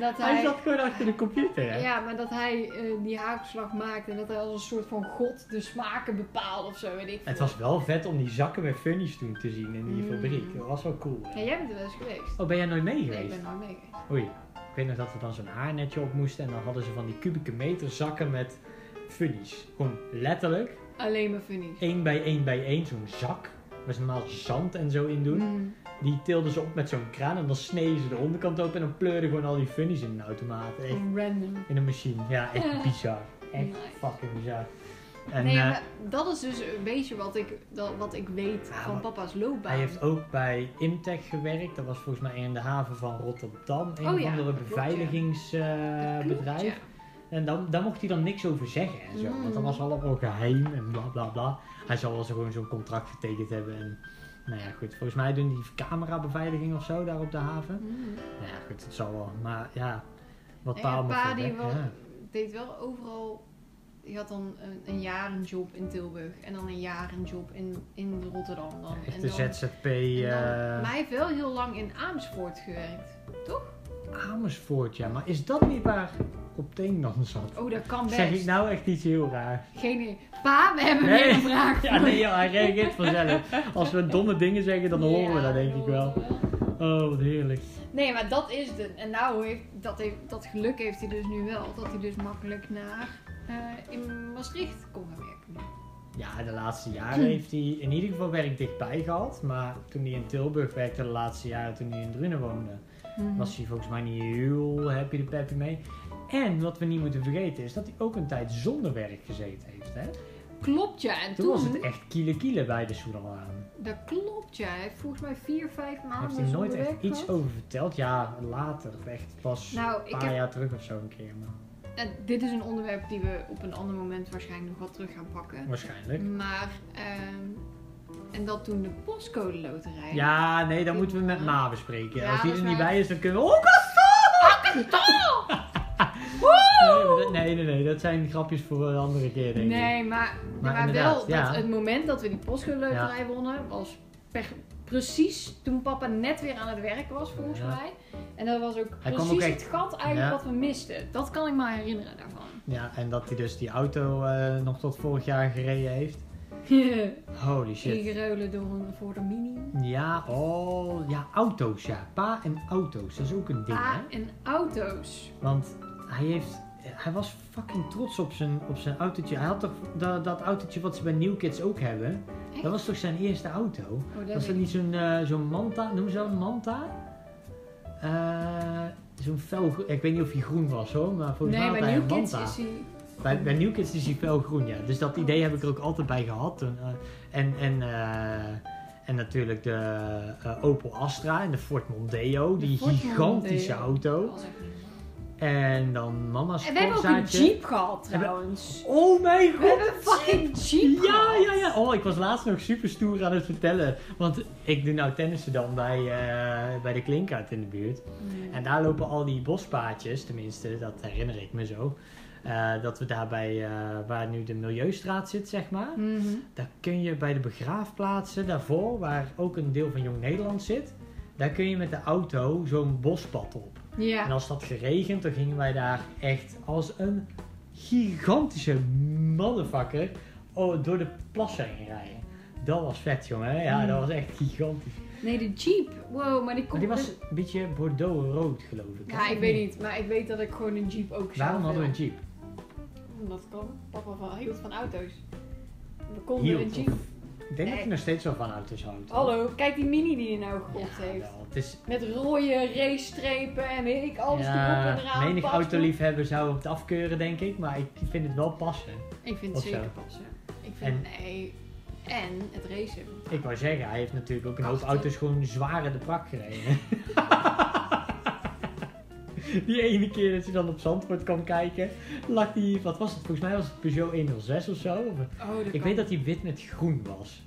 Speaker 2: Dat hij...
Speaker 1: Hij zat gewoon achter de computer, hè.
Speaker 2: Ja, maar dat hij eh, die hagelslag maakte en dat hij als een soort van god de smaken bepaalde of zo, weet ik
Speaker 1: Het
Speaker 2: veel.
Speaker 1: was wel vet om die zakken met funnies toen te zien in die
Speaker 2: Mm.
Speaker 1: fabriek. Dat was wel cool. hè.
Speaker 2: Ja, jij bent er wel eens geweest.
Speaker 1: Oh, ben jij nooit mee
Speaker 2: Nee, ik
Speaker 1: geweest?
Speaker 2: ben er nog mee geweest.
Speaker 1: Oei. Ik weet nog dat we dan zo'n haarnetje op moesten en dan hadden ze van die kubieke meter zakken met funnies. Gewoon letterlijk
Speaker 2: Alleen maar funny.
Speaker 1: één bij één bij één zo'n zak. Waar ze normaal zand en zo in doen.
Speaker 2: Mm.
Speaker 1: Die tilden ze op met zo'n kraan en dan sneden ze de onderkant open en dan pleurden gewoon al die funnies in een automaat. Echt
Speaker 2: Random.
Speaker 1: in een machine. Ja, echt
Speaker 2: Ja.
Speaker 1: bizar. Echt
Speaker 2: Nice.
Speaker 1: fucking bizar. En
Speaker 2: nee,
Speaker 1: eh,
Speaker 2: maar dat is dus een beetje wat ik, dat, wat ik weet
Speaker 1: Ja,
Speaker 2: van
Speaker 1: maar
Speaker 2: papa's loopbaan.
Speaker 1: Ah, hij heeft ook bij Imtech gewerkt. Dat was volgens mij in de haven van Rotterdam. Een
Speaker 2: Oh
Speaker 1: of
Speaker 2: ja,
Speaker 1: andere
Speaker 2: dat klopt, ja. Dat klopt,
Speaker 1: beveiligingsbedrijf.
Speaker 2: ja.
Speaker 1: En dan, daar mocht hij dan niks over zeggen en zo. Want dat
Speaker 2: Mm.
Speaker 1: was allemaal geheim en bla bla bla. Hij zal wel zo gewoon zo'n contract getekend hebben. En, nou ja, goed. Volgens mij doen die camerabeveiliging of zo daar op de haven.
Speaker 2: Mm.
Speaker 1: Nou ja, goed. Het zal wel. Maar ja, wat
Speaker 2: Nee,
Speaker 1: pa
Speaker 2: ja,
Speaker 1: allemaal
Speaker 2: pa
Speaker 1: voor
Speaker 2: die
Speaker 1: werk-
Speaker 2: wel,
Speaker 1: ja.
Speaker 2: deed wel overal. Die had dan een, een jaar een job in Tilburg en dan een jaar een job in, in Rotterdam. Dan. en
Speaker 1: Echt de
Speaker 2: dan,
Speaker 1: ZZP
Speaker 2: en dan-
Speaker 1: eh
Speaker 2: Maar hij heeft wel heel lang in Amersfoort gewerkt.
Speaker 1: Amersfoort, ja. Maar is dat niet waar op teen dan zat?
Speaker 2: Oh, dat kan best.
Speaker 1: zeg ik nou echt iets heel raar.
Speaker 2: Geen idee. Pa, we hebben
Speaker 1: Nee.
Speaker 2: weer een vraag.
Speaker 1: Ja, nee, joh, hij reageert vanzelf. Als we domme dingen zeggen, dan horen we dat denk ik wel. Oh, wat heerlijk.
Speaker 2: Nee, maar dat is het. En nou, heeft, dat, heeft, dat geluk heeft hij dus nu wel. Dat hij dus makkelijk naar eh, in Maastricht kon gaan werken.
Speaker 1: Ja, de laatste jaren
Speaker 2: Hm.
Speaker 1: heeft hij in ieder geval werk dichtbij gehad. Maar toen hij in Tilburg werkte, de laatste jaren toen hij in Drunen woonde, was hij volgens mij niet heel happy de peppy mee. En wat we niet moeten vergeten is dat hij ook een tijd zonder werk gezeten heeft. Hè? Toen,
Speaker 2: Klopt ja. En toen,
Speaker 1: was het echt kiele kiele bij de Soedalaan.
Speaker 2: Dat klopt ja. Hij heeft volgens mij vier, vijf maanden
Speaker 1: Heeft hij nooit
Speaker 2: zonder
Speaker 1: echt
Speaker 2: werk
Speaker 1: iets
Speaker 2: gehad.
Speaker 1: over verteld? Ja, later. Echt pas
Speaker 2: Nou,
Speaker 1: een
Speaker 2: ik
Speaker 1: paar
Speaker 2: heb,
Speaker 1: jaar terug of zo een keer. Maar
Speaker 2: en dit is een onderwerp die we op een ander moment waarschijnlijk nog wat terug gaan pakken.
Speaker 1: waarschijnlijk.
Speaker 2: Maar, ehm, en dat toen de postcode loterij.
Speaker 1: Ja, nee, dat moeten we met Ma bespreken.
Speaker 2: Ja,
Speaker 1: Als die
Speaker 2: dat
Speaker 1: er
Speaker 2: is
Speaker 1: niet
Speaker 2: waar.
Speaker 1: bij is, dan kunnen we... Oh, Kastel! Nee, nee, nee, nee, dat zijn grapjes voor een andere keer, denk ik.
Speaker 2: Nee, maar, maar, wel
Speaker 1: inderdaad,
Speaker 2: dat
Speaker 1: ja.
Speaker 2: het moment dat we die postcode loterij wonnen was per- precies toen papa net weer aan het werk was, volgens
Speaker 1: Ja.
Speaker 2: mij. En dat was ook
Speaker 1: Hij kwam
Speaker 2: precies
Speaker 1: ook echt-
Speaker 2: het gat
Speaker 1: Ja.
Speaker 2: eigenlijk wat we misten. Dat kan ik me herinneren daarvan.
Speaker 1: Ja, en dat hij dus die auto eh, nog tot vorig jaar gereden heeft. Holy shit.
Speaker 2: Ingeruilen door een, voor de mini.
Speaker 1: Ja, oh, ja, auto's, ja. Pa en auto's, dat is ook een ding, hè?
Speaker 2: Ah, en auto's.
Speaker 1: Want hij heeft... Hij was fucking trots op zijn, op zijn autootje. Hij had toch dat, dat autootje wat ze bij New Kids ook hebben?
Speaker 2: Echt?
Speaker 1: Dat was toch zijn eerste auto?
Speaker 2: Oh,
Speaker 1: Was
Speaker 2: dat
Speaker 1: dat
Speaker 2: weet
Speaker 1: niet zo'n eh, zo'n manta? Noem ze dat een manta? Eh, zo'n fel groen. Ik weet niet of hij groen was hoor, maar
Speaker 2: ik.
Speaker 1: volgens
Speaker 2: Nee,
Speaker 1: mij had
Speaker 2: bij
Speaker 1: hij een
Speaker 2: New Kids
Speaker 1: manta.
Speaker 2: is hij...
Speaker 1: Bij, bij New Kids is hij felgroen, ja. Dus dat idee heb ik er ook altijd bij gehad. Toen, eh, en, en, eh, en natuurlijk de eh, Opel Astra en de Ford Mondeo,
Speaker 2: De
Speaker 1: die
Speaker 2: Ford
Speaker 1: gigantische
Speaker 2: Mondeo.
Speaker 1: auto.
Speaker 2: was echt niet normaal.
Speaker 1: En dan mama's
Speaker 2: En we hebben ook een
Speaker 1: Corsaatje.
Speaker 2: jeep gehad
Speaker 1: Hebben-
Speaker 2: trouwens.
Speaker 1: Oh mijn
Speaker 2: We
Speaker 1: god!
Speaker 2: hebben een fucking jeep
Speaker 1: Ja,
Speaker 2: gehad.
Speaker 1: ja, ja. Oh, ik was laatst nog super stoer aan het vertellen. Want ik doe nou tennissen dan bij, eh, bij de klinkart in de buurt.
Speaker 2: Mm.
Speaker 1: En daar lopen al die bospaadjes, tenminste, dat herinner ik me zo. Eh, dat we daar bij, eh, waar nu de Milieustraat zit, zeg maar.
Speaker 2: Mhm.
Speaker 1: Daar kun je bij de begraafplaatsen daarvoor, waar ook een deel van Jong Nederland zit. Daar kun je met de auto zo'n bospad op. En
Speaker 2: Ja.
Speaker 1: als dat geregend, dan gingen wij daar echt als een gigantische motherfucker oh, door de plassen heen rijden. Dat was vet, jongen. Ja,
Speaker 2: Mm.
Speaker 1: dat was echt gigantisch.
Speaker 2: Nee, de jeep. Wow, maar die
Speaker 1: Maar
Speaker 2: komt... dus-
Speaker 1: die was een beetje bordeaux-rood, geloof ik.
Speaker 2: Ja, ik weet niet. Maar ik weet dat ik gewoon een jeep ook zou
Speaker 1: Waarom hadden we een jeep?
Speaker 2: jeep? Omdat kan. Papa van, hield van auto's. We konden een
Speaker 1: Hield,
Speaker 2: jeep.
Speaker 1: of- Ik denk dat je nog steeds wel van auto's houdt.
Speaker 2: Hallo, kijk die mini die je nou
Speaker 1: Ja,
Speaker 2: gekocht heeft.
Speaker 1: wel, het is,
Speaker 2: Met rode racestrepen en weet ik alles erop en eraan.
Speaker 1: menig
Speaker 2: pas-
Speaker 1: autoliefhebber zou het afkeuren, denk ik. Maar ik vind het wel passen.
Speaker 2: Ik vind
Speaker 1: Of
Speaker 2: het
Speaker 1: zo.
Speaker 2: zeker passen. Ik vind, nee. En het racen.
Speaker 1: Ik wou zeggen, hij heeft natuurlijk ook een hoop
Speaker 2: Prachtig.
Speaker 1: auto's gewoon zwaar in de prak gereden. Die ene keer dat je dan op Zandvoort kwam kijken, lag die, wat was het? Volgens mij was het Peugeot 106 of zo. Of-
Speaker 2: Oh, dat
Speaker 1: Ik weet dat hij wit met groen was.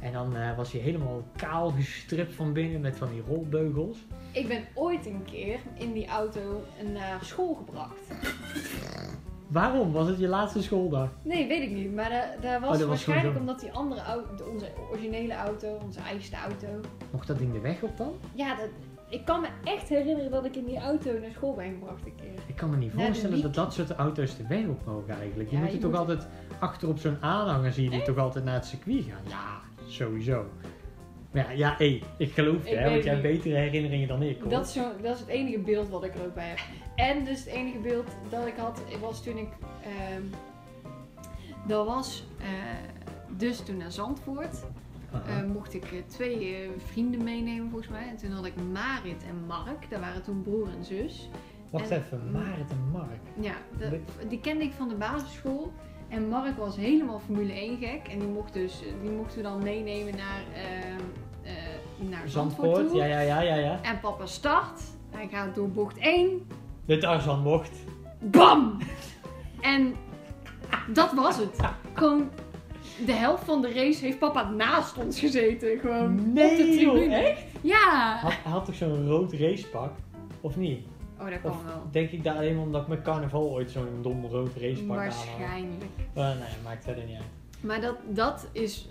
Speaker 1: En dan eh, was hij helemaal kaal gestript van binnen met van die rolbeugels.
Speaker 2: Ik ben ooit een keer in die auto naar school gebracht.
Speaker 1: Waarom? Was het je laatste schooldag?
Speaker 2: Nee, weet ik niet. Maar daar, daar was,
Speaker 1: Oh, dat was
Speaker 2: waarschijnlijk
Speaker 1: gewoon
Speaker 2: omdat die andere auto, de- onze originele auto, onze eigen auto.
Speaker 1: Mocht dat ding de weg op dan?
Speaker 2: Ja, dat, ik kan me echt herinneren dat ik in die auto naar school ben gebracht een keer.
Speaker 1: Ik kan me niet
Speaker 2: Nou, de
Speaker 1: voorstellen dat
Speaker 2: wieken.
Speaker 1: dat soort auto's de weg op mogen eigenlijk. Je
Speaker 2: Ja,
Speaker 1: moet
Speaker 2: je
Speaker 1: er toch
Speaker 2: moet-
Speaker 1: altijd achter op zo'n aanhanger zie je die toch altijd naar het circuit gaan. Ja, sowieso. Maar ja, ja hé, ik geloof je,
Speaker 2: Ik
Speaker 1: hè,
Speaker 2: weet
Speaker 1: want
Speaker 2: het
Speaker 1: jij hebt
Speaker 2: niet.
Speaker 1: betere herinneringen dan ik. Hoor.
Speaker 2: Dat is, zo, dat is het enige beeld wat ik er ook bij heb. En dus het enige beeld dat ik had, was toen ik... ehm, dat was eh, dus toen naar Zandvoort.
Speaker 1: Aha.
Speaker 2: Eh, mocht ik eh, twee eh, vrienden meenemen volgens mij. En toen had ik Marit en Mark. Dat waren toen broer en zus.
Speaker 1: Wacht
Speaker 2: en- Mm.
Speaker 1: even, Marit en Mark.
Speaker 2: Ja, dat- die kende ik van de basisschool. En Mark was helemaal Formule 1 gek. En die, mocht dus, die mochten we dan meenemen naar, ehm, eh, naar Zandvoort,
Speaker 1: Zandvoort,
Speaker 2: toe.
Speaker 1: ja, ja, ja, ja, ja.
Speaker 2: En papa start. Hij gaat door bocht 1.
Speaker 1: De Tarzan mocht.
Speaker 2: Bam! En dat was het. Gewoon de helft van de race heeft papa naast ons gezeten. Gewoon Ehm, op de
Speaker 1: Nee, joh,
Speaker 2: tribune. Ja!
Speaker 1: Had, had toch zo'n rood racepak? Of niet?
Speaker 2: Oh, dat
Speaker 1: Of
Speaker 2: kan wel.
Speaker 1: denk ik daar alleen omdat ik met carnaval ooit zo'n dom rood racepak aan had?
Speaker 2: Waarschijnlijk.
Speaker 1: Eh, nee, maakt verder niet uit.
Speaker 2: Maar dat, dat is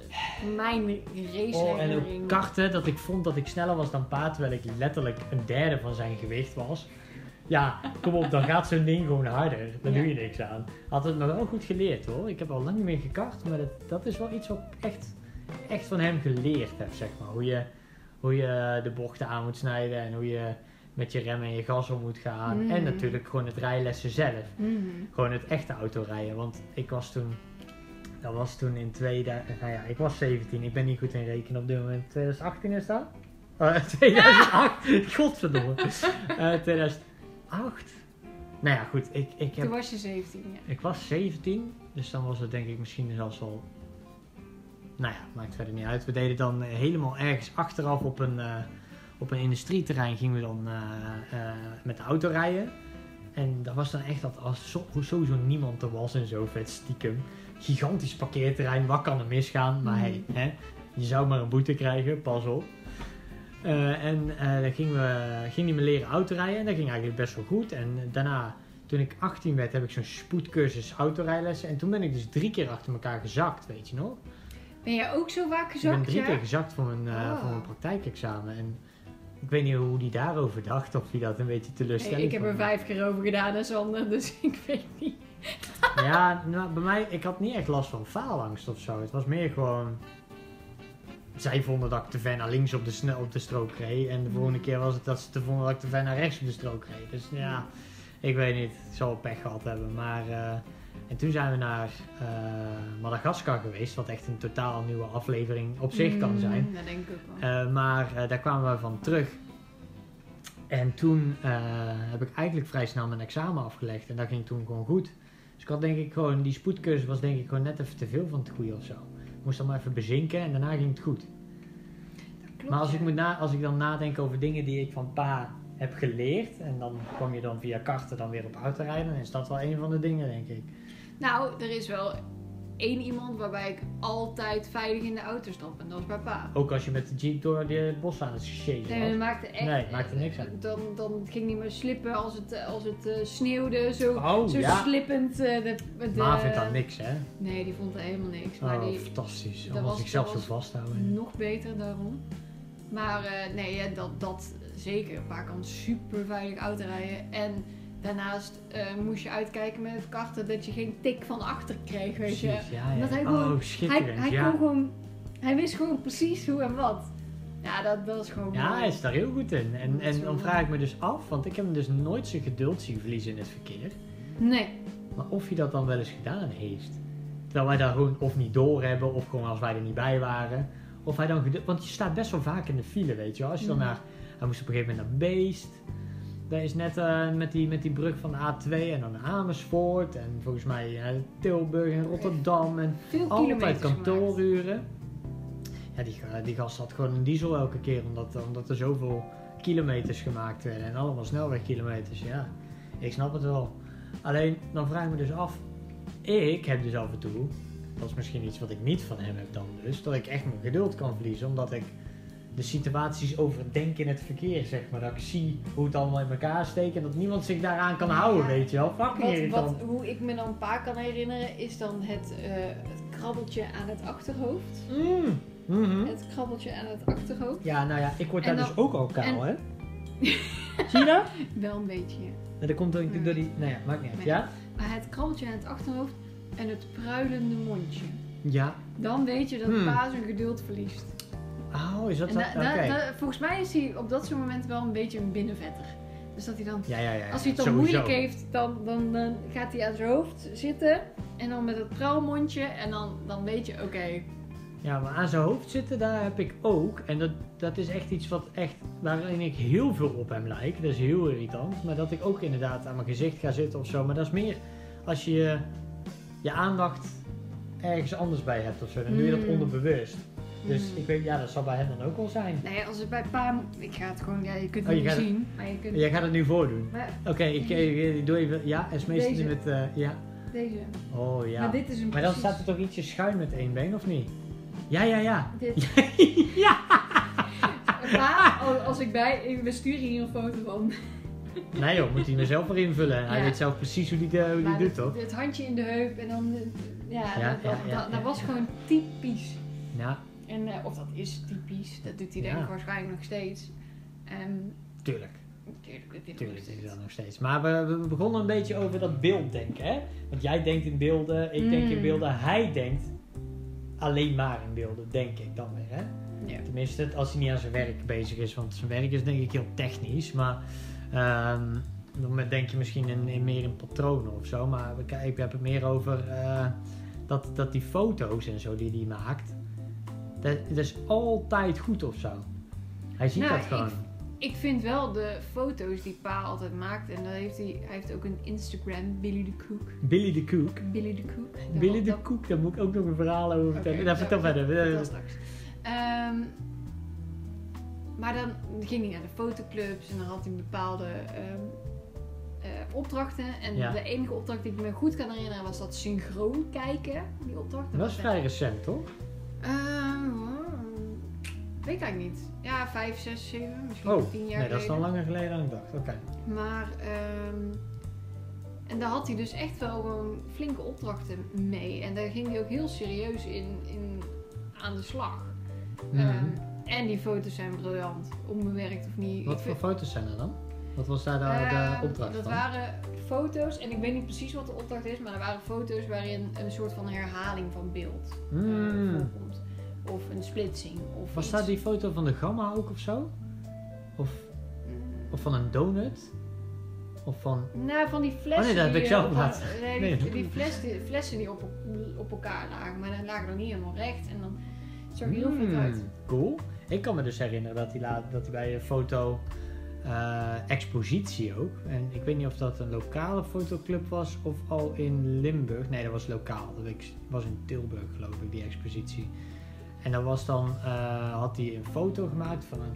Speaker 2: mijn race
Speaker 1: Oh, en ook karten, dat ik vond dat ik sneller was dan Pa, terwijl ik letterlijk een derde van zijn gewicht was. Ja, kom op, dan gaat zo'n ding gewoon harder. Daar
Speaker 2: Ja.
Speaker 1: doe je niks aan. Had het me wel goed geleerd hoor. Ik heb al lang niet meer gekart, maar dat, dat is wel iets wat ik echt, echt van hem geleerd heb, zeg maar. Hoe je, hoe je de bochten aan moet snijden en hoe je met je rem en je gas om moet gaan.
Speaker 2: Mhm.
Speaker 1: En natuurlijk gewoon het rijlessen zelf gewoon het echte autorijden. Want ik was toen, dat was toen in 2000, nou ja, ik was 17, ik ben niet goed in rekenen op dit moment. 2018 is dat? Eh, 2008, godverdomme. Eh, 2008? Nou ja, goed, ik, ik,
Speaker 2: Toen
Speaker 1: heb,
Speaker 2: was je 17, ja.
Speaker 1: ik was 17, dus dan was het denk ik misschien zelfs al, nou ja, maakt verder niet uit. We deden dan eh, helemaal ergens achteraf op een, eh, op een industrieterrein gingen we dan eh, eh, met de auto rijden. En daar was dan echt dat als zo- sowieso niemand er was en zo vet stiekem. Gigantisch parkeerterrein, wat kan er misgaan? Maar hey, hè, je zou maar een boete krijgen, pas op. Eh, en eh dan gingen we, ging hij me leren autorijden en dat ging eigenlijk best wel goed. En daarna, toen ik 18 werd, heb ik zo'n spoedcursus autorijlessen. En toen ben ik dus drie keer achter elkaar gezakt, weet je nog?
Speaker 2: Ben jij ook zo vaak
Speaker 1: ik ben
Speaker 2: gezakt,
Speaker 1: drie keer
Speaker 2: ja?
Speaker 1: gezakt voor mijn, eh,
Speaker 2: Oh.
Speaker 1: voor mijn praktijkexamen. En ik weet niet hoe die daarover dacht of die dat een beetje teleurstellend
Speaker 2: Hey, ik heb
Speaker 1: vond.
Speaker 2: er vijf keer over gedaan, en Sander, dus ik weet niet.
Speaker 1: Ja, nou, bij mij, ik had niet echt last van faalangst of zo. Het was meer gewoon. Zij vonden dat ik te ver naar links op de, sne- op de strook reed. En de volgende
Speaker 2: Mhm.
Speaker 1: keer was het dat ze te vonden dat ik te ver naar rechts op de strook reed. Dus ja, ik weet niet. Ik zal wel pech gehad hebben. Maar. eh, en toen zijn we naar eh, Madagaskar geweest. Wat echt een totaal nieuwe aflevering op zich kan zijn.
Speaker 2: Mm, Dat denk ik ook wel.
Speaker 1: Eh, maar eh, daar kwamen we van terug. En toen eh, heb ik eigenlijk vrij snel mijn examen afgelegd. En dat ging toen gewoon goed. Dus ik had denk ik gewoon, die spoedcursus was denk ik gewoon net even te veel van het goede of zo. Ik moest dan maar even bezinken en daarna ging het goed.
Speaker 2: Dat klopt,
Speaker 1: maar als
Speaker 2: ja.
Speaker 1: ik, moet na, als ik dan nadenk over dingen die ik van pa hebt geleerd. En dan kom je dan via karten dan weer op hout te rijden. Dan is dat wel een van de dingen, denk ik.
Speaker 2: Nou, er is wel één iemand waarbij ik altijd veilig in de auto stap. En dat is papa.
Speaker 1: Ook als je met de jeep door de bos aan het chasen
Speaker 2: Nee, dat
Speaker 1: was.
Speaker 2: maakte echt...
Speaker 1: Nee, maakte niks uit.
Speaker 2: Dan, dan ging hij maar slippen als het, eh, als het eh, sneeuwde. Zo,
Speaker 1: Oh,
Speaker 2: zo
Speaker 1: ja.
Speaker 2: slippend. eh, de, de...
Speaker 1: Ma vindt dat niks, hè?
Speaker 2: Nee, die vond er helemaal niks. Maar
Speaker 1: Oh,
Speaker 2: die,
Speaker 1: fantastisch.
Speaker 2: dat
Speaker 1: Dan was
Speaker 2: was-
Speaker 1: ik zelf zo
Speaker 2: dat
Speaker 1: vasthouden.
Speaker 2: Nog beter daarom. Maar eh, nee, ja, dat, dat zeker. Papa kan super veilig auto rijden. En daarnaast eh, moest je uitkijken met het karten dat je geen tik van achter kreeg, weet je.
Speaker 1: Precies, ja, ja.
Speaker 2: Omdat hij
Speaker 1: Oh,
Speaker 2: gewoon- Hij,
Speaker 1: schitterend,
Speaker 2: hij,
Speaker 1: ja.
Speaker 2: kon gewoon, hij wist gewoon precies hoe en wat. Ja, dat, dat is gewoon
Speaker 1: Ja,
Speaker 2: mooi.
Speaker 1: hij is daar heel goed in. En,
Speaker 2: Dat is
Speaker 1: en
Speaker 2: wel
Speaker 1: dan vraag ik me dus af, want ik heb hem dus nooit zijn geduld zien verliezen in het verkeer.
Speaker 2: Nee,
Speaker 1: Maar of hij dat dan wel eens gedaan heeft. Terwijl wij daar gewoon of niet door hebben, of gewoon als wij er niet bij waren. Of hij dan geduld... Want je staat best wel vaak in de file, weet je wel. Als je dan
Speaker 2: Mhm.
Speaker 1: naar... Hij moest op een gegeven moment naar Beest. Daar is net eh, met, die, met die brug van de A2 en dan naar Amersfoort. En volgens mij eh, Tilburg en Rotterdam. En
Speaker 2: veel
Speaker 1: altijd
Speaker 2: kilometers gemaakt.
Speaker 1: kantooruren. Ja, die, ga- die gast had gewoon een diesel elke keer, omdat, omdat er zoveel kilometers gemaakt werden. En allemaal snelwegkilometers, ja. Ik snap het wel. Alleen, dan vraag ik me dus af. Ik heb dus af en toe, dat is misschien iets wat ik niet van hem heb dan dus, dat ik echt mijn geduld kan verliezen, omdat ik de situaties overdenk in het verkeer, zeg maar. Dat ik zie hoe het allemaal in elkaar steekt en dat niemand zich daaraan kan houden,
Speaker 2: Ja.
Speaker 1: weet je wel. Fucking
Speaker 2: Wat,
Speaker 1: irritant.
Speaker 2: wat, hoe ik me dan een paar kan herinneren, is dan het, eh, het krabbeltje aan het achterhoofd.
Speaker 1: Mm. Mhm.
Speaker 2: Het krabbeltje aan het achterhoofd.
Speaker 1: Ja, nou ja, ik word
Speaker 2: En
Speaker 1: daar
Speaker 2: dan-
Speaker 1: dus ook al kaal,
Speaker 2: en-
Speaker 1: hè? Zie je dat?
Speaker 2: Wel een beetje, ja.
Speaker 1: En dat komt door,
Speaker 2: Hmm.
Speaker 1: door die... Nou ja, maakt niet uit. Ja?
Speaker 2: Maar het krabbeltje aan het achterhoofd en het pruilende mondje.
Speaker 1: Ja.
Speaker 2: Dan weet je dat
Speaker 1: Hmm.
Speaker 2: pa zijn geduld verliest.
Speaker 1: Oh, is dat...
Speaker 2: En
Speaker 1: zo?
Speaker 2: da-
Speaker 1: Oké.
Speaker 2: da- da- volgens mij is hij op dat soort moment wel een beetje een binnenvetter. Dus dat hij dan,
Speaker 1: Ja, ja, ja.
Speaker 2: als hij het dan
Speaker 1: sowieso.
Speaker 2: moeilijk heeft, dan, dan, dan gaat hij aan zijn hoofd zitten. En dan met het pruilmondje en dan, dan weet je, oké. hmm.
Speaker 1: Ja, maar aan zijn hoofd zitten, daar heb ik ook. En dat, dat is echt iets wat echt... Waarin ik heel veel op hem lijk. Dat is heel irritant. Maar dat ik ook inderdaad aan mijn gezicht ga zitten of zo. Maar dat is meer als je eh, je aandacht ergens anders bij hebt of zo. Dan doe je dat
Speaker 2: Mm.
Speaker 1: onderbewust. Dus
Speaker 2: hmm.
Speaker 1: ik weet... Ja, dat zal bij hem dan ook wel zijn.
Speaker 2: Nee, Nou als het bij pa... Ik ga het gewoon... Ja, je kunt
Speaker 1: Oh,
Speaker 2: het
Speaker 1: je
Speaker 2: niet
Speaker 1: gaat-
Speaker 2: zien. Maar je kunt...
Speaker 1: Jij gaat het nu voordoen.
Speaker 2: Maar
Speaker 1: Oké, ik, ik- ik doe even. Ja, Esme zit
Speaker 2: Deze.
Speaker 1: nu met. eh, ja.
Speaker 2: deze.
Speaker 1: Oh ja.
Speaker 2: Maar
Speaker 1: Maar,
Speaker 2: dit is een
Speaker 1: dan
Speaker 2: precies-
Speaker 1: staat er toch ietsje schuin met één been, of niet? Ja, ja, ja.
Speaker 2: Dit.
Speaker 1: ja!
Speaker 2: Pa, al- als ik bij... We sturen hier een foto van.
Speaker 1: Nee joh, moet hij mezelf weer invullen. Hij
Speaker 2: Ja.
Speaker 1: weet zelf precies hoe die, eh, hoe die
Speaker 2: Maar
Speaker 1: doet,
Speaker 2: dat-
Speaker 1: toch?
Speaker 2: Het handje in de heup en dan. eh, Ja,
Speaker 1: Ja,
Speaker 2: dat,
Speaker 1: ja,
Speaker 2: dat-
Speaker 1: ja,
Speaker 2: dat,
Speaker 1: ja,
Speaker 2: dat was
Speaker 1: ja.
Speaker 2: gewoon typisch.
Speaker 1: Ja,
Speaker 2: En, eh, of dat is typisch, dat doet hij
Speaker 1: Ja.
Speaker 2: denk ik waarschijnlijk nog steeds. Ehm
Speaker 1: tuurlijk.
Speaker 2: tuurlijk, dat doet hij nog
Speaker 1: Tuurlijk is
Speaker 2: steeds.
Speaker 1: dat nog steeds. Maar we, we begonnen een beetje over dat beelddenken, hè? Want jij denkt in beelden, ik denk in
Speaker 2: Mm.
Speaker 1: beelden, hij denkt alleen maar in beelden, denk ik dan weer, hè?
Speaker 2: Ja.
Speaker 1: Tenminste, als hij niet aan zijn werk bezig is. Want zijn werk is denk ik heel technisch. Maar ehm, dan denk je misschien in, in meer in patronen of zo. Maar we ki- ik heb het meer over eh, dat, dat die foto's en zo die hij maakt. Dat, dat is altijd goed of zo. Hij ziet
Speaker 2: Nou,
Speaker 1: dat gewoon.
Speaker 2: ik- Ik vind wel de foto's die Pa altijd maakt, en dat heeft hij, hij heeft ook een Instagram, Billy de Koek.
Speaker 1: Billy de Koek.
Speaker 2: Billy de Koek. Daar-
Speaker 1: Billy de
Speaker 2: daar-
Speaker 1: Koek, daar moet ik ook nog een verhaal over
Speaker 2: Oké,
Speaker 1: vertellen. dat
Speaker 2: zo,
Speaker 1: vertel verder.
Speaker 2: dat- dat
Speaker 1: Eh,
Speaker 2: straks. Ehm, maar dan ging hij naar de fotoclubs en dan had hij bepaalde ehm, eh, opdrachten. En
Speaker 1: Ja.
Speaker 2: de enige opdracht die ik me goed kan herinneren was dat synchroon kijken. Die opdracht. Eh,
Speaker 1: Dat is vrij recent, toch?
Speaker 2: Ehm, hmm, weet ik eigenlijk niet. Ja, vijf, zes, zeven, misschien
Speaker 1: Oh,
Speaker 2: tien jaar
Speaker 1: nee, dat is dan
Speaker 2: geleden.
Speaker 1: langer geleden dan ik dacht. Oké.
Speaker 2: Maar, ehm, en daar had hij dus echt wel gewoon flinke opdrachten mee. En daar ging hij ook heel serieus in, in aan de slag. Ehm,
Speaker 1: Mhm.
Speaker 2: en die foto's zijn briljant, onbewerkt of niet.
Speaker 1: Wat
Speaker 2: Ik
Speaker 1: voor
Speaker 2: vind-
Speaker 1: foto's zijn er dan? Wat was daar de,
Speaker 2: Ehm,
Speaker 1: de opdracht
Speaker 2: Dat
Speaker 1: van?
Speaker 2: waren foto's, en ik weet niet precies wat de opdracht is, maar er waren foto's waarin een soort van herhaling van beeld eh,
Speaker 1: Hmm.
Speaker 2: voorkomt. Of een splitsing. Of
Speaker 1: Was
Speaker 2: iets.
Speaker 1: daar die foto van de gamma ook of zo? Of,
Speaker 2: Mm,
Speaker 1: of van een donut? Of van...
Speaker 2: Nou, van die flessen.
Speaker 1: Oh nee, dat heb
Speaker 2: die,
Speaker 1: ik
Speaker 2: eh,
Speaker 1: zelf
Speaker 2: op-
Speaker 1: laten.
Speaker 2: Nee, die,
Speaker 1: Nee.
Speaker 2: die fles- die flessen die op, e-, op elkaar lagen, maar dan lagen dan niet helemaal recht. En dan zag je heel veel
Speaker 1: Hmm,
Speaker 2: uit.
Speaker 1: Cool. Ik kan me dus herinneren dat hij, laat, dat hij bij een foto... eh, expositie ook. En ik weet niet of dat een lokale fotoclub was of al in Limburg. Nee, dat was lokaal. Dat weet ik- was in Tilburg geloof ik, die expositie. En dat was dan, eh, had hij een foto gemaakt van een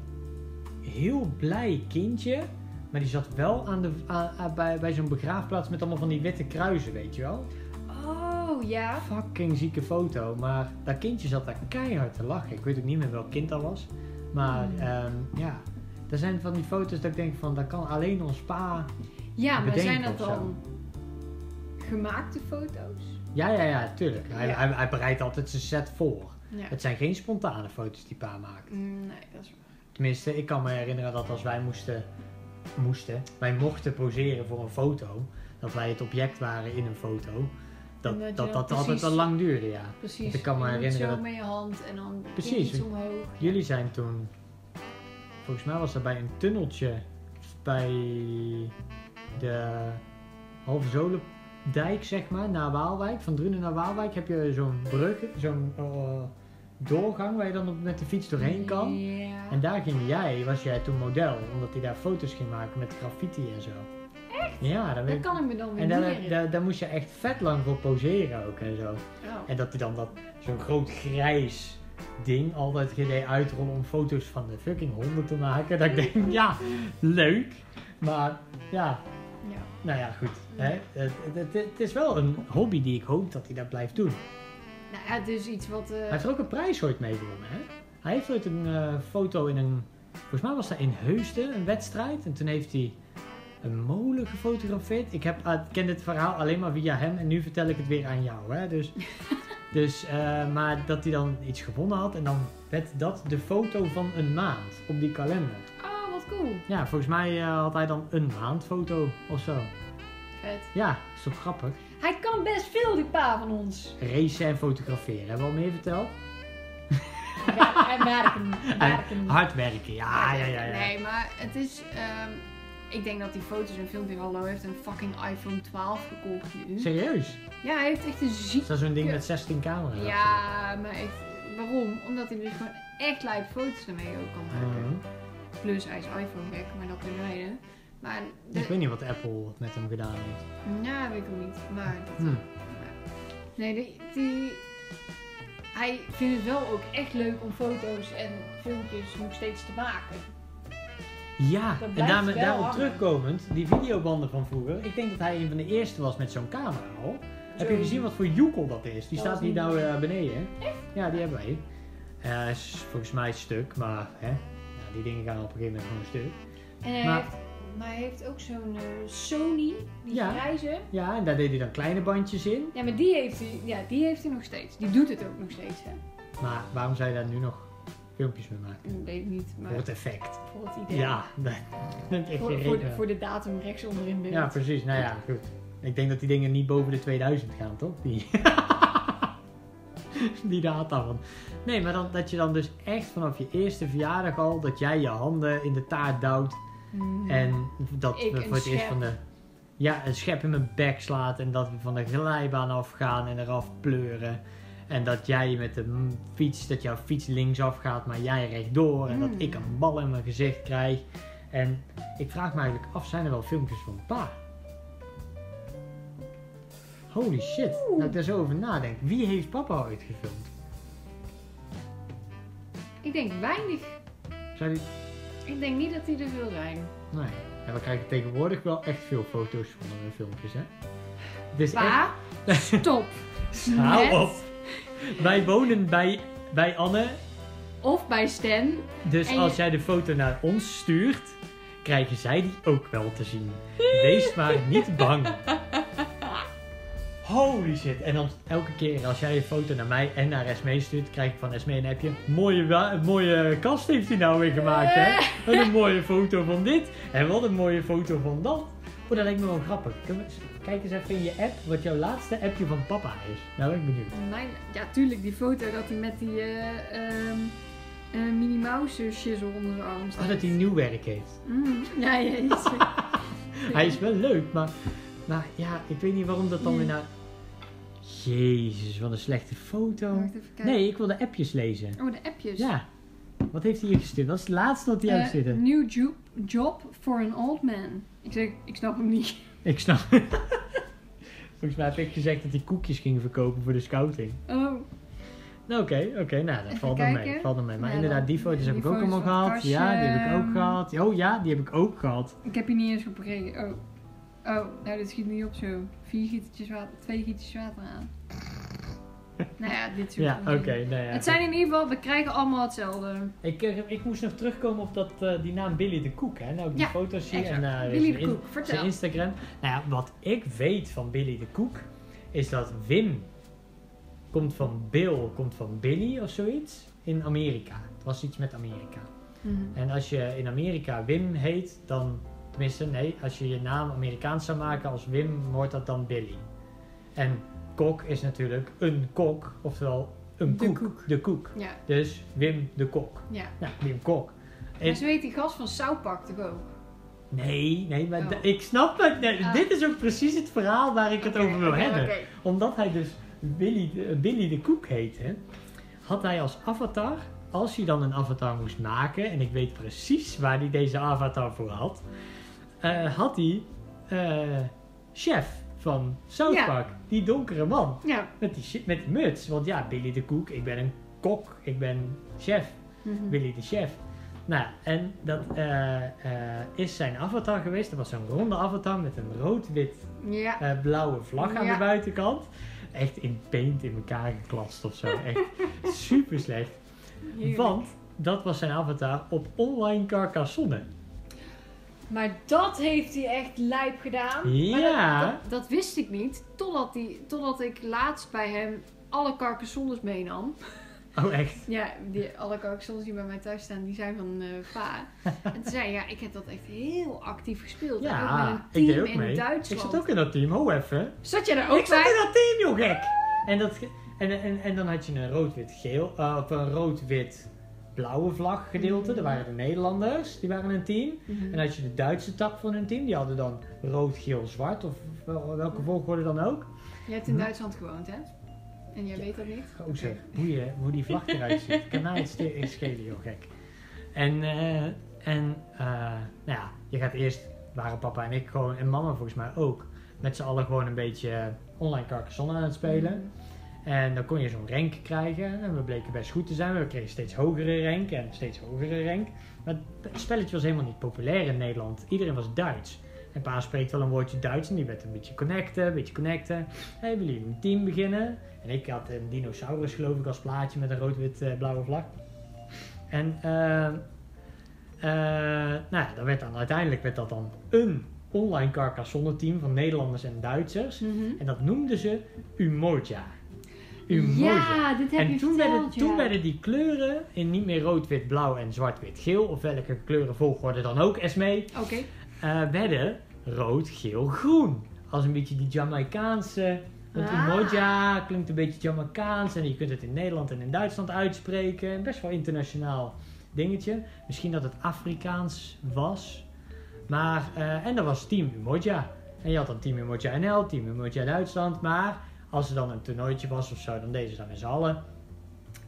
Speaker 1: heel blij kindje. Maar die zat wel aan de, aan- aan- bij, bij zo'n begraafplaats met allemaal van die witte kruisen, weet je wel?
Speaker 2: Oh ja.
Speaker 1: Fucking zieke foto. Maar dat kindje zat daar keihard te lachen. Ik weet ook niet meer welk kind dat was. Maar
Speaker 2: Hmm.
Speaker 1: ehm, ja, er zijn van die foto's dat ik denk van, dat kan alleen ons pa.
Speaker 2: Ja, maar
Speaker 1: Bedenken
Speaker 2: zijn dat
Speaker 1: of zo.
Speaker 2: dan gemaakte foto's?
Speaker 1: Ja, ja, ja, tuurlijk. Hij,
Speaker 2: Ja.
Speaker 1: hij, hij bereidt altijd zijn set voor.
Speaker 2: Ja.
Speaker 1: Het zijn geen spontane foto's die pa maakt.
Speaker 2: Mm, Nee, dat is waar.
Speaker 1: Tenminste, ik kan me herinneren dat als wij moesten, moesten, wij mochten poseren voor een foto, dat wij het object waren in een foto, dat
Speaker 2: En dat je
Speaker 1: dat, dat,
Speaker 2: dan
Speaker 1: altijd
Speaker 2: precies-
Speaker 1: al lang duurde, ja.
Speaker 2: Precies.
Speaker 1: Ik kan me
Speaker 2: Je doet
Speaker 1: herinneren
Speaker 2: Zo
Speaker 1: dat-
Speaker 2: met je hand en dan
Speaker 1: Precies.
Speaker 2: iets omhoog.
Speaker 1: Jullie zijn toen, volgens mij was dat bij een tunneltje bij de Halve Zolendijk, zeg maar, naar Waalwijk. Van Drunen naar Waalwijk heb je zo'n brug, zo'n eh, doorgang waar je dan op- met de fiets doorheen kan.
Speaker 2: Ja.
Speaker 1: En daar ging jij, was jij toen model, omdat hij daar foto's ging maken met graffiti en zo. Echt? Ja, dat weet
Speaker 2: Dat
Speaker 1: ik.
Speaker 2: kan ik me dan weer
Speaker 1: En
Speaker 2: niet
Speaker 1: daar,
Speaker 2: herinneren.
Speaker 1: daar, daar moest je echt vet lang voor poseren ook en zo.
Speaker 2: Oh.
Speaker 1: En dat hij dan dat, zo'n groot grijs ding altijd deed uitrollen om foto's van de fucking honden te maken. Dat ik denk, ja, leuk. Maar ja,
Speaker 2: Ja.
Speaker 1: nou ja, goed. Hè? Het, het, het- het is wel een hobby die ik hoop dat hij dat blijft doen.
Speaker 2: Nou ja, het is iets wat... eh,
Speaker 1: Hij heeft er ook een prijs ooit mee gewonnen, hè? Hij heeft ooit een eh, foto in een... Volgens mij was dat in Heusden, een wedstrijd. En toen heeft hij een molen gefotografeerd. Ik, heb, ah, ik ken dit verhaal alleen maar via hem. En nu vertel ik het weer aan jou, hè? Dus, dus eh, maar dat hij dan iets gewonnen had. En dan werd dat de foto van een maand op die kalender.
Speaker 2: Oh, wat cool.
Speaker 1: Ja, volgens mij eh, had hij dan een maandfoto of zo.
Speaker 2: Vet.
Speaker 1: Ja, is toch grappig?
Speaker 2: Hij kan best veel, die pa van ons.
Speaker 1: Racen en fotograferen, hebben we al meer verteld?
Speaker 2: Ja, hij merkt hem. hij merkt hem.
Speaker 1: Hard werken, ja, ja, ja. ja.
Speaker 2: Nee, maar het is... ehm, ik denk dat die foto's en filmpjes... Hallo, hij heeft een fucking iPhone 12 gekocht nu.
Speaker 1: Serieus?
Speaker 2: Ja, hij heeft echt een ziek...
Speaker 1: Is dat zo'n ding met 16 camera's?
Speaker 2: Ja, maar echt... Waarom? Omdat hij dus gewoon echt live foto's ermee ook kan maken.
Speaker 1: Mhm.
Speaker 2: Plus, hij is iPhone-gek, maar dat beneden. Maar...
Speaker 1: Ik weet
Speaker 2: De,
Speaker 1: niet wat Apple met hem gedaan heeft.
Speaker 2: ja, weet ik ook niet. Maar dat...
Speaker 1: Hm.
Speaker 2: Nee, die, die- Hij vindt het wel ook echt leuk om foto's en filmpjes nog steeds te maken.
Speaker 1: Ja, en
Speaker 2: blijft
Speaker 1: daarmee-
Speaker 2: wel
Speaker 1: daarop
Speaker 2: hangen.
Speaker 1: terugkomend, die videobanden van vroeger. Ik denk dat hij een van de eerste was met zo'n camera al. Heb je
Speaker 2: Zo-
Speaker 1: gezien wat voor joekel dat is? Die
Speaker 2: Dat
Speaker 1: staat
Speaker 2: was
Speaker 1: hier
Speaker 2: niet
Speaker 1: nou eh, beneden. hè? Ja, die hebben wij. Eh, is volgens mij stuk, maar hè? Ja, die dingen gaan op een gegeven moment gewoon stuk.
Speaker 2: En hij
Speaker 1: Maar-
Speaker 2: heeft, maar hij heeft ook zo'n eh, Sony, die
Speaker 1: Ja.
Speaker 2: grijze.
Speaker 1: Ja, en daar deed hij dan kleine bandjes in.
Speaker 2: Ja, maar die heeft, hij, ja, die heeft hij nog steeds. Die doet het ook nog steeds, hè.
Speaker 1: Maar waarom zou je daar nu nog filmpjes mee maken?
Speaker 2: Ik weet het niet, maar
Speaker 1: Voor het effect.
Speaker 2: voor het idee.
Speaker 1: Ja, dat heb ik echt geen
Speaker 2: Voor,
Speaker 1: reden
Speaker 2: voor, de,
Speaker 1: aan.
Speaker 2: voor de datum rechtsonder in beeld.
Speaker 1: Ja, precies. Nou ja, goed. Ik denk dat die dingen niet boven de 2000 gaan, toch? Die, die data van. Nee, maar dan, dat je dan dus echt vanaf je eerste verjaardag al... dat jij je handen in de taart duwt...
Speaker 2: Hmm.
Speaker 1: en dat
Speaker 2: Ik
Speaker 1: we
Speaker 2: een
Speaker 1: voor het eerst
Speaker 2: schep.
Speaker 1: van de... Ja, een schep in mijn bek slaat... en dat we van de glijbaan afgaan en eraf pleuren... En dat jij met de m- fiets, dat jouw fiets linksaf gaat, maar jij rechtdoor. En dat
Speaker 2: Mm.
Speaker 1: ik een bal in mijn gezicht krijg. En ik vraag me eigenlijk af, zijn er wel filmpjes van pa? Holy shit,
Speaker 2: Oeh.
Speaker 1: nou ik daar zo over nadenk. Wie heeft papa ooit gefilmd?
Speaker 2: Ik denk weinig.
Speaker 1: Zou die...
Speaker 2: Ik denk niet dat die er veel zijn.
Speaker 1: Nee. En we krijgen tegenwoordig wel echt veel foto's van hun filmpjes, hè? Dus
Speaker 2: Pa, stop.
Speaker 1: echt... Hou
Speaker 2: Net.
Speaker 1: op! Wij wonen bij, bij Anne
Speaker 2: Of bij Stan.
Speaker 1: Dus
Speaker 2: En je-
Speaker 1: als jij de foto naar ons stuurt, krijgen zij die ook wel te zien. Wees maar niet bang. Holy shit. En dan elke keer als jij een foto naar mij en naar Esme stuurt, krijg ik van Esme een appje. Mooie, wa- mooie kast heeft hij nou weer gemaakt, hè?
Speaker 2: Eh.
Speaker 1: Wat een mooie foto van dit. En wat een mooie foto van dat. Oh, dat lijkt me wel grappig. Kunnen we eens- Kijk eens even in je app wat jouw laatste appje van papa is. Nou ben ik benieuwd.
Speaker 2: Mijn, ja, tuurlijk, die foto dat hij met die eh ehm eh, Minnie Mouse shizzle onder zijn arm staat.
Speaker 1: Oh, dat hij nieuw werk heeft.
Speaker 2: Mm, ja, jeetje.
Speaker 1: Hij is wel leuk, maar, maar ja, ik weet niet waarom dat dan weer naar... Jezus, wat een slechte foto.
Speaker 2: Wacht even kijken.
Speaker 1: Nee, ik wil de appjes lezen.
Speaker 2: Oh, de appjes.
Speaker 1: Ja. Wat heeft hij hier gestuurd? Dat is het laatste wat hij
Speaker 2: Eh,
Speaker 1: heeft zitten.
Speaker 2: new ju- job for an old man. Ik zeg, ik snap hem niet.
Speaker 1: Ik snap. Volgens mij heb ik gezegd dat hij koekjes ging verkopen voor de scouting.
Speaker 2: Oh,
Speaker 1: Oké, oké, nou dat
Speaker 2: Even
Speaker 1: valt dan mee.
Speaker 2: kijken.
Speaker 1: Valt dan mee. Maar
Speaker 2: Ja,
Speaker 1: inderdaad,
Speaker 2: dan-
Speaker 1: die foto's heb
Speaker 2: die
Speaker 1: ik ook
Speaker 2: foto's
Speaker 1: allemaal
Speaker 2: van
Speaker 1: gehad. Ja, die heb ik ook
Speaker 2: Kastje.
Speaker 1: gehad. Oh ja, die heb ik ook gehad.
Speaker 2: Ik heb hier niet eens op gereden. Oh. Oh, nou dit schiet niet op zo. Vier gietertjes water, twee gietertjes water aan. nou ja, dit soort
Speaker 1: Ja, oké.
Speaker 2: onzin.
Speaker 1: nou ja,
Speaker 2: Het zijn in ieder geval, we krijgen allemaal hetzelfde.
Speaker 1: Ik, eh, ik moest nog terugkomen op dat, eh, die naam Billy de Koek. Hè? Nou, ik die
Speaker 2: Ja,
Speaker 1: foto's zie
Speaker 2: Exact.
Speaker 1: en eh,
Speaker 2: Willy
Speaker 1: zijn
Speaker 2: de
Speaker 1: in-
Speaker 2: Koek,
Speaker 1: zijn
Speaker 2: vertel.
Speaker 1: Instagram. Nou ja, wat ik weet van Billy de Koek is dat Wim komt van Bill, komt van Billy of zoiets in Amerika. Het was iets met Amerika.
Speaker 2: Mhm.
Speaker 1: En als je in Amerika Wim heet, dan. Tenminste, nee, als je je naam Amerikaans zou maken als Wim, wordt dat dan Billy. En kok is natuurlijk een kok, oftewel een
Speaker 2: De
Speaker 1: koek.
Speaker 2: koek.
Speaker 1: De koek.
Speaker 2: Ja,
Speaker 1: Dus Wim de Kok.
Speaker 2: ja.
Speaker 1: Nou, Wim Kok.
Speaker 2: Maar
Speaker 1: Is,
Speaker 2: zo heet die gast van Soupak toch ook?
Speaker 1: nee, nee, maar
Speaker 2: Oh.
Speaker 1: d- ik snap het. Nee,
Speaker 2: Ah.
Speaker 1: Dit is ook precies het verhaal waar ik het
Speaker 2: Oké,
Speaker 1: over wil
Speaker 2: oké,
Speaker 1: hebben.
Speaker 2: oké.
Speaker 1: Omdat hij dus Billy de, Billy de Koek heette, had hij als avatar, als hij dan een avatar moest maken, en ik weet precies waar hij deze avatar voor had, eh, had hij eh, chef van South
Speaker 2: Ja.
Speaker 1: Park, die donkere man,
Speaker 2: Ja.
Speaker 1: met die, shi- met die muts. Want ja, Billy de Koek, ik ben een kok, ik ben chef.
Speaker 2: Mhm.
Speaker 1: Willy de Chef. Nou, en dat eh, eh, is zijn avatar geweest. Dat was zo'n ronde avatar met een rood-wit-blauwe
Speaker 2: Ja.
Speaker 1: vlag aan
Speaker 2: Ja.
Speaker 1: de buitenkant. Echt in paint in elkaar geklast of zo. Echt super slecht.
Speaker 2: Heerlijk.
Speaker 1: Want dat was zijn avatar op online Carcassonne.
Speaker 2: Maar dat heeft hij echt lijp gedaan. Maar
Speaker 1: Ja.
Speaker 2: dat, dat, dat wist ik niet, totdat, die, totdat ik laatst bij hem alle carcassonnes meenam.
Speaker 1: Oh, echt?
Speaker 2: Ja, die, alle carcassonnes die bij mij thuis staan, die zijn van eh pa. En toen zei hij, ja, ik heb dat echt heel actief gespeeld. En ook met
Speaker 1: Ja,
Speaker 2: een
Speaker 1: ik
Speaker 2: team
Speaker 1: deed ook
Speaker 2: in
Speaker 1: mee. Ik
Speaker 2: Duitsland.
Speaker 1: zat ook in dat team, ho even.
Speaker 2: Zat jij daar ook
Speaker 1: ik zat in
Speaker 2: bij?
Speaker 1: dat team, joh, gek! En, dat, ge- en, en, en dan had je een rood-wit-geel, eh, of een rood-wit-blauwe vlag gedeelte. Daar waren de Nederlanders, die waren een team.
Speaker 2: Mhm.
Speaker 1: En dan had je de Duitse tak van hun team, die hadden dan rood, geel, zwart of wel- welke volgorde dan ook.
Speaker 2: Je hebt in
Speaker 1: Hm?
Speaker 2: Duitsland gewoond, hè? En jij weet dat niet?
Speaker 1: Goh Oh, zeg, boeien hoe die vlag eruit ziet. Kan mij het ste- schelen, joh gek. En, eh, en eh, nou ja, je gaat eerst, waren papa en ik gewoon, en mama volgens mij ook, met z'n allen gewoon een beetje online Carcassonne aan het spelen. En dan kon je zo'n rank krijgen. En we bleken best goed te zijn. We kregen steeds hogere rank en steeds hogere rank. Maar het spelletje was helemaal niet populair in Nederland. Iedereen was Duits. En pa spreekt wel een woordje Duits en die werd een beetje connecten, een beetje connecten. Hey, willen jullie een team beginnen? En ik had een dinosaurus geloof ik als plaatje met een rood-wit-blauwe vlag. En eh, eh, nou ja, dan werd dan, uiteindelijk werd dat dan een online Carcassonne team van Nederlanders en Duitsers.
Speaker 2: Mhm.
Speaker 1: En dat noemden ze Umoja. Umoja.
Speaker 2: Ja, dit heb
Speaker 1: en
Speaker 2: je
Speaker 1: toen,
Speaker 2: verteld,
Speaker 1: werden, toen
Speaker 2: ja.
Speaker 1: werden die kleuren in niet meer rood, wit, blauw en zwart, wit, geel, of welke kleurenvolgorde dan ook, Esmee,
Speaker 2: Oké.
Speaker 1: eh, werden rood, geel, groen. Als een beetje die Jamaicaanse. Want
Speaker 2: Ah.
Speaker 1: Umoja klinkt een beetje Jamaicaans en je kunt het in Nederland en in Duitsland uitspreken. Best wel internationaal dingetje. Misschien dat het Afrikaans was. Maar, eh, en dat was Team Umoja. En je had dan Team Umoja NL, Team Umoja Duitsland. Maar als er dan een toernooitje was of zo, dan deden ze dat met z'n allen.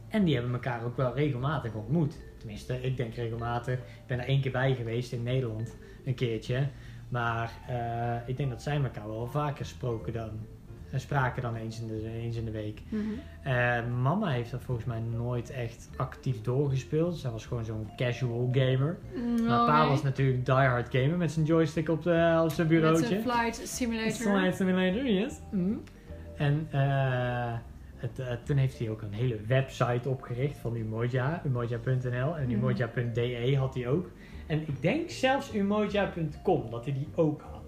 Speaker 1: En die hebben elkaar ook wel regelmatig ontmoet. Tenminste, ik denk regelmatig. Ik ben er één keer bij geweest in Nederland, een keertje. Maar eh, ik denk dat zij elkaar wel vaker sproken dan, eh, spraken dan eens in de, eens in de week.
Speaker 2: Mhm.
Speaker 1: Eh, mama heeft dat volgens mij nooit echt actief doorgespeeld. Zij was gewoon zo'n casual gamer. maar pa
Speaker 2: Oké.
Speaker 1: was natuurlijk diehard gamer met zijn joystick op, de, op zijn
Speaker 2: Met
Speaker 1: bureautje.
Speaker 2: zijn flight simulator.
Speaker 1: Slide Simulator, yes. Mhm. En eh, het, eh, toen heeft hij ook een hele website opgericht van Umoja, umoja.nl en
Speaker 2: Mhm.
Speaker 1: umoja.de E had hij ook. En ik denk zelfs umoja.com dat hij die ook had.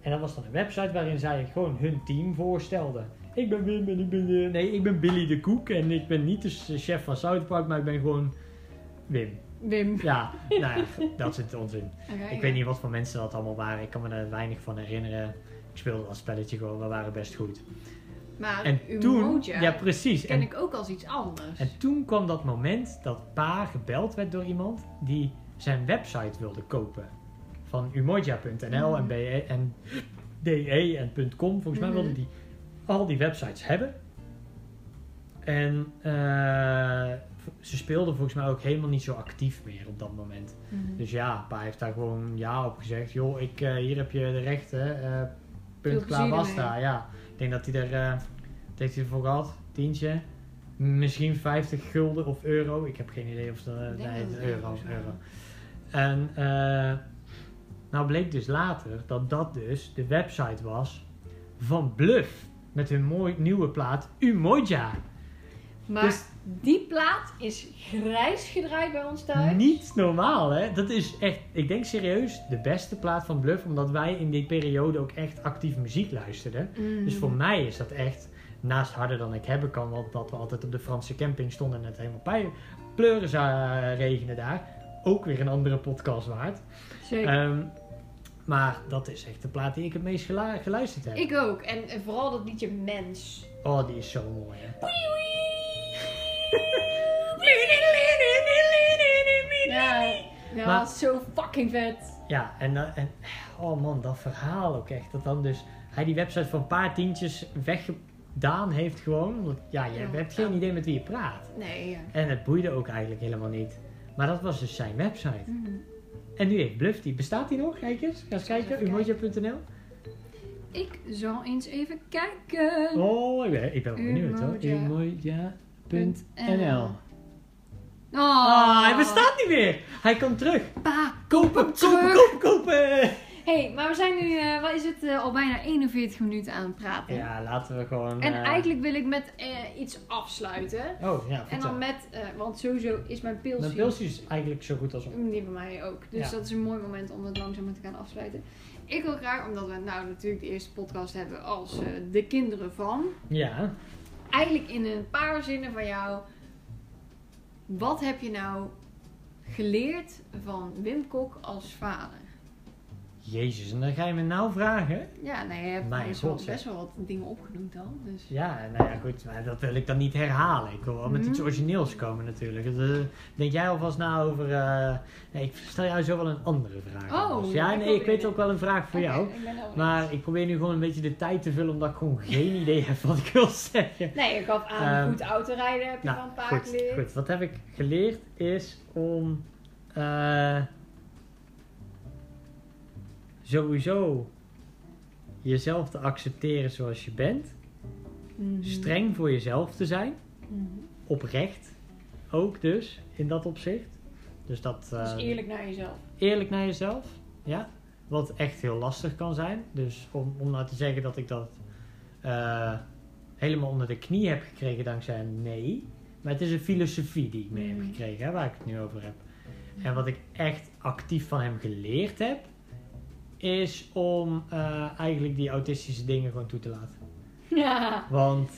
Speaker 1: En dat was dan een website waarin zij gewoon hun team voorstelden. Ik ben Wim en ik ben, eh, nee, ik ben Billy de Koek en ik ben niet de s- chef van South Park, maar ik ben gewoon Wim.
Speaker 2: Wim.
Speaker 1: Ja, nou ja, dat is het onzin.
Speaker 2: Oké,
Speaker 1: Ik
Speaker 2: ja.
Speaker 1: weet niet wat voor mensen dat allemaal waren. Ik kan me daar weinig van herinneren. Ik speelde dat spelletje gewoon. We waren best goed.
Speaker 2: Maar
Speaker 1: En
Speaker 2: uw
Speaker 1: toen...
Speaker 2: Moja
Speaker 1: ja, precies.
Speaker 2: ken
Speaker 1: En,
Speaker 2: ik ook als iets anders.
Speaker 1: en toen kwam dat moment dat pa gebeld werd door iemand die zijn website wilde kopen. Van umoja.nl en,
Speaker 2: Mhm.
Speaker 1: BE en DE en .com. Volgens mij
Speaker 2: Mhm.
Speaker 1: wilde die al die websites hebben. En eh, ze speelden volgens mij ook helemaal niet zo actief meer op dat moment.
Speaker 2: Mhm.
Speaker 1: Dus ja, pa heeft daar gewoon ja op gezegd. Joh, ik, eh, hier heb je de rechten. eh,
Speaker 2: Veel
Speaker 1: punt klaar
Speaker 2: plezier
Speaker 1: basta. Ja. Ik denk dat hij er, eh, wat heeft hij ervoor gehad? Tientje. misschien 50 gulden of euro. Ik heb geen idee of dat.
Speaker 2: Ik denk
Speaker 1: eh, nee,
Speaker 2: dat het
Speaker 1: euro.
Speaker 2: euro's waren.
Speaker 1: euro. En eh, nou bleek dus later dat dat dus de website was van Bluff. Met hun mooi, nieuwe plaat Umoja.
Speaker 2: Maar
Speaker 1: Dus-
Speaker 2: die plaat is grijs gedraaid bij ons thuis.
Speaker 1: Niet normaal, hè? Dat is echt, ik denk serieus, de beste plaat van Bluff. Omdat wij in die periode ook echt actief muziek luisterden.
Speaker 2: Mm.
Speaker 1: Dus voor mij is dat echt, naast harder dan ik hebben kan, want dat we altijd op de Franse camping stonden en het helemaal pij- pleuren zou eh, regenen daar. Ook weer een andere podcast waard.
Speaker 2: Zeker.
Speaker 1: Ehm, maar dat is echt de plaat die ik het meest gelu- geluisterd heb.
Speaker 2: ik ook. En, en vooral dat liedje Mens.
Speaker 1: Oh, die is zo mooi, hè?
Speaker 2: Ja, ja
Speaker 1: Maar-
Speaker 2: dat is zo fucking vet.
Speaker 1: Ja, en, eh, en oh man, dat verhaal ook echt. Dat dan dus hij die website voor een paar tientjes weggedaan heeft gewoon. Omdat, ja, je
Speaker 2: Ja.
Speaker 1: hebt geen idee met wie je praat.
Speaker 2: Nee, ja.
Speaker 1: En het boeide ook eigenlijk helemaal niet. Maar dat was dus zijn website.
Speaker 2: Mhm.
Speaker 1: En nu heeft Bluff die. Bestaat die nog? Kijk eens. Ga eens kijken.
Speaker 2: even kijken.
Speaker 1: Umoja.nl
Speaker 2: Ik zal eens even kijken.
Speaker 1: Oh, ik ben, ik ben wel benieuwd hoor.
Speaker 2: Umoja.
Speaker 1: Umoja.nl
Speaker 2: Oh,
Speaker 1: Ah, hij bestaat niet meer. Hij komt terug.
Speaker 2: Pa.
Speaker 1: Kopen, kopen, kopen, kopen.
Speaker 2: hey, maar we zijn nu, eh, wat is het, eh, al bijna 41 minuten aan het praten.
Speaker 1: Ja, laten we gewoon...
Speaker 2: En
Speaker 1: eh,
Speaker 2: eigenlijk wil ik met eh, iets afsluiten.
Speaker 1: Oh, ja,
Speaker 2: En
Speaker 1: vertel.
Speaker 2: dan met, eh, want sowieso is mijn pilsje.
Speaker 1: Mijn pilsje is dus eigenlijk zo goed als op.
Speaker 2: Mm, Die bij mij ook. Dus
Speaker 1: Ja.
Speaker 2: dat is een mooi moment om het langzaam te gaan afsluiten. Ik wil graag, omdat we nou natuurlijk de eerste podcast hebben als eh, de kinderen van.
Speaker 1: Ja.
Speaker 2: Eigenlijk in een paar zinnen van jou. Wat heb je nou geleerd van Wim Kok als vader?
Speaker 1: Jezus, en dan ga je me nou vragen.
Speaker 2: Ja, nou je hebt
Speaker 1: Mijn
Speaker 2: best wel,
Speaker 1: god, zeg.
Speaker 2: best wel wat dingen opgenoemd al. Dus.
Speaker 1: Ja, nou ja, goed. Maar dat wil ik dan niet herhalen. Ik wil wel met
Speaker 2: Mhm.
Speaker 1: iets origineels komen natuurlijk. Dus, eh, denk jij alvast na over... eh, nee, ik stel jou zo wel een andere vraag.
Speaker 2: Oh,
Speaker 1: alvast. ja,
Speaker 2: ik
Speaker 1: nee,
Speaker 2: wil
Speaker 1: ik weet
Speaker 2: weer-
Speaker 1: ook wel een vraag voor
Speaker 2: Oké,
Speaker 1: jou.
Speaker 2: ik ben wel benieuwd.
Speaker 1: Maar ik probeer nu gewoon een beetje de tijd te vullen omdat ik gewoon geen idee heb wat ik wil zeggen.
Speaker 2: Nee, ik gaf aan
Speaker 1: Ehm,
Speaker 2: goed autorijden heb je van een paar
Speaker 1: Nou, goed,
Speaker 2: geleerd.
Speaker 1: goed. Wat heb ik geleerd is om eh, sowieso jezelf te accepteren zoals je bent.
Speaker 2: Mhm.
Speaker 1: Streng voor jezelf te zijn.
Speaker 2: Mhm.
Speaker 1: Oprecht ook dus in dat opzicht. Dus dat
Speaker 2: Dus
Speaker 1: eh,
Speaker 2: eerlijk naar jezelf.
Speaker 1: eerlijk naar jezelf. Ja. Wat echt heel lastig kan zijn. Dus om, om nou te zeggen dat ik dat eh, helemaal onder de knie heb gekregen dankzij hem, nee. Maar het is een filosofie die ik mee heb
Speaker 2: Mhm.
Speaker 1: gekregen, hè, waar ik het nu over heb. En wat ik echt actief van hem geleerd heb, is om eh, eigenlijk die autistische dingen gewoon toe te laten.
Speaker 2: Ja.
Speaker 1: Want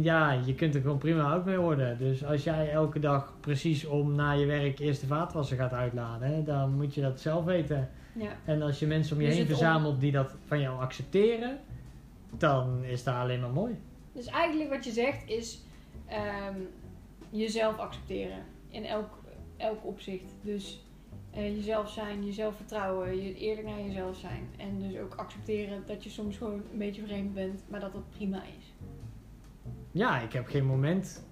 Speaker 1: ja, je kunt er gewoon prima ook mee worden. Dus als jij elke dag precies om na je werk eerst de vaatwasser gaat uitladen, hè, dan moet je dat zelf weten.
Speaker 2: ja.
Speaker 1: En als je mensen om je
Speaker 2: Dus
Speaker 1: heen
Speaker 2: het om-
Speaker 1: verzamelt die dat van jou accepteren, dan is dat alleen maar mooi.
Speaker 2: Dus eigenlijk wat je zegt is ehm, jezelf accepteren in elk, elk opzicht. Dus eh, jezelf zijn, jezelf vertrouwen, je, eerlijk naar jezelf zijn. En dus ook accepteren dat je soms gewoon een beetje vreemd bent, maar dat dat prima is.
Speaker 1: Ja, ik heb geen moment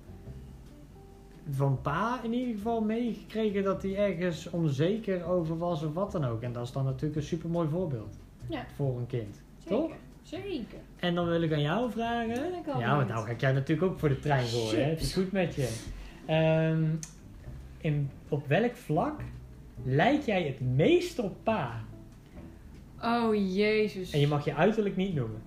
Speaker 1: van pa in ieder geval meegekregen dat hij ergens onzeker over was of wat dan ook. En dat is dan natuurlijk een supermooi voorbeeld
Speaker 2: Ja.
Speaker 1: voor een kind.
Speaker 2: Zeker.
Speaker 1: Toch?
Speaker 2: Zeker.
Speaker 1: En dan wil ik aan jou vragen.
Speaker 2: Ben ik al
Speaker 1: ja, want
Speaker 2: benieuwd.
Speaker 1: nou ga ik jou natuurlijk ook voor de trein gooien. hè. Het is
Speaker 2: Chips.
Speaker 1: goed met je. Ehm, in, op welk vlak lijk jij het meest op pa?
Speaker 2: Oh jezus.
Speaker 1: nou- En je mag je uiterlijk niet noemen.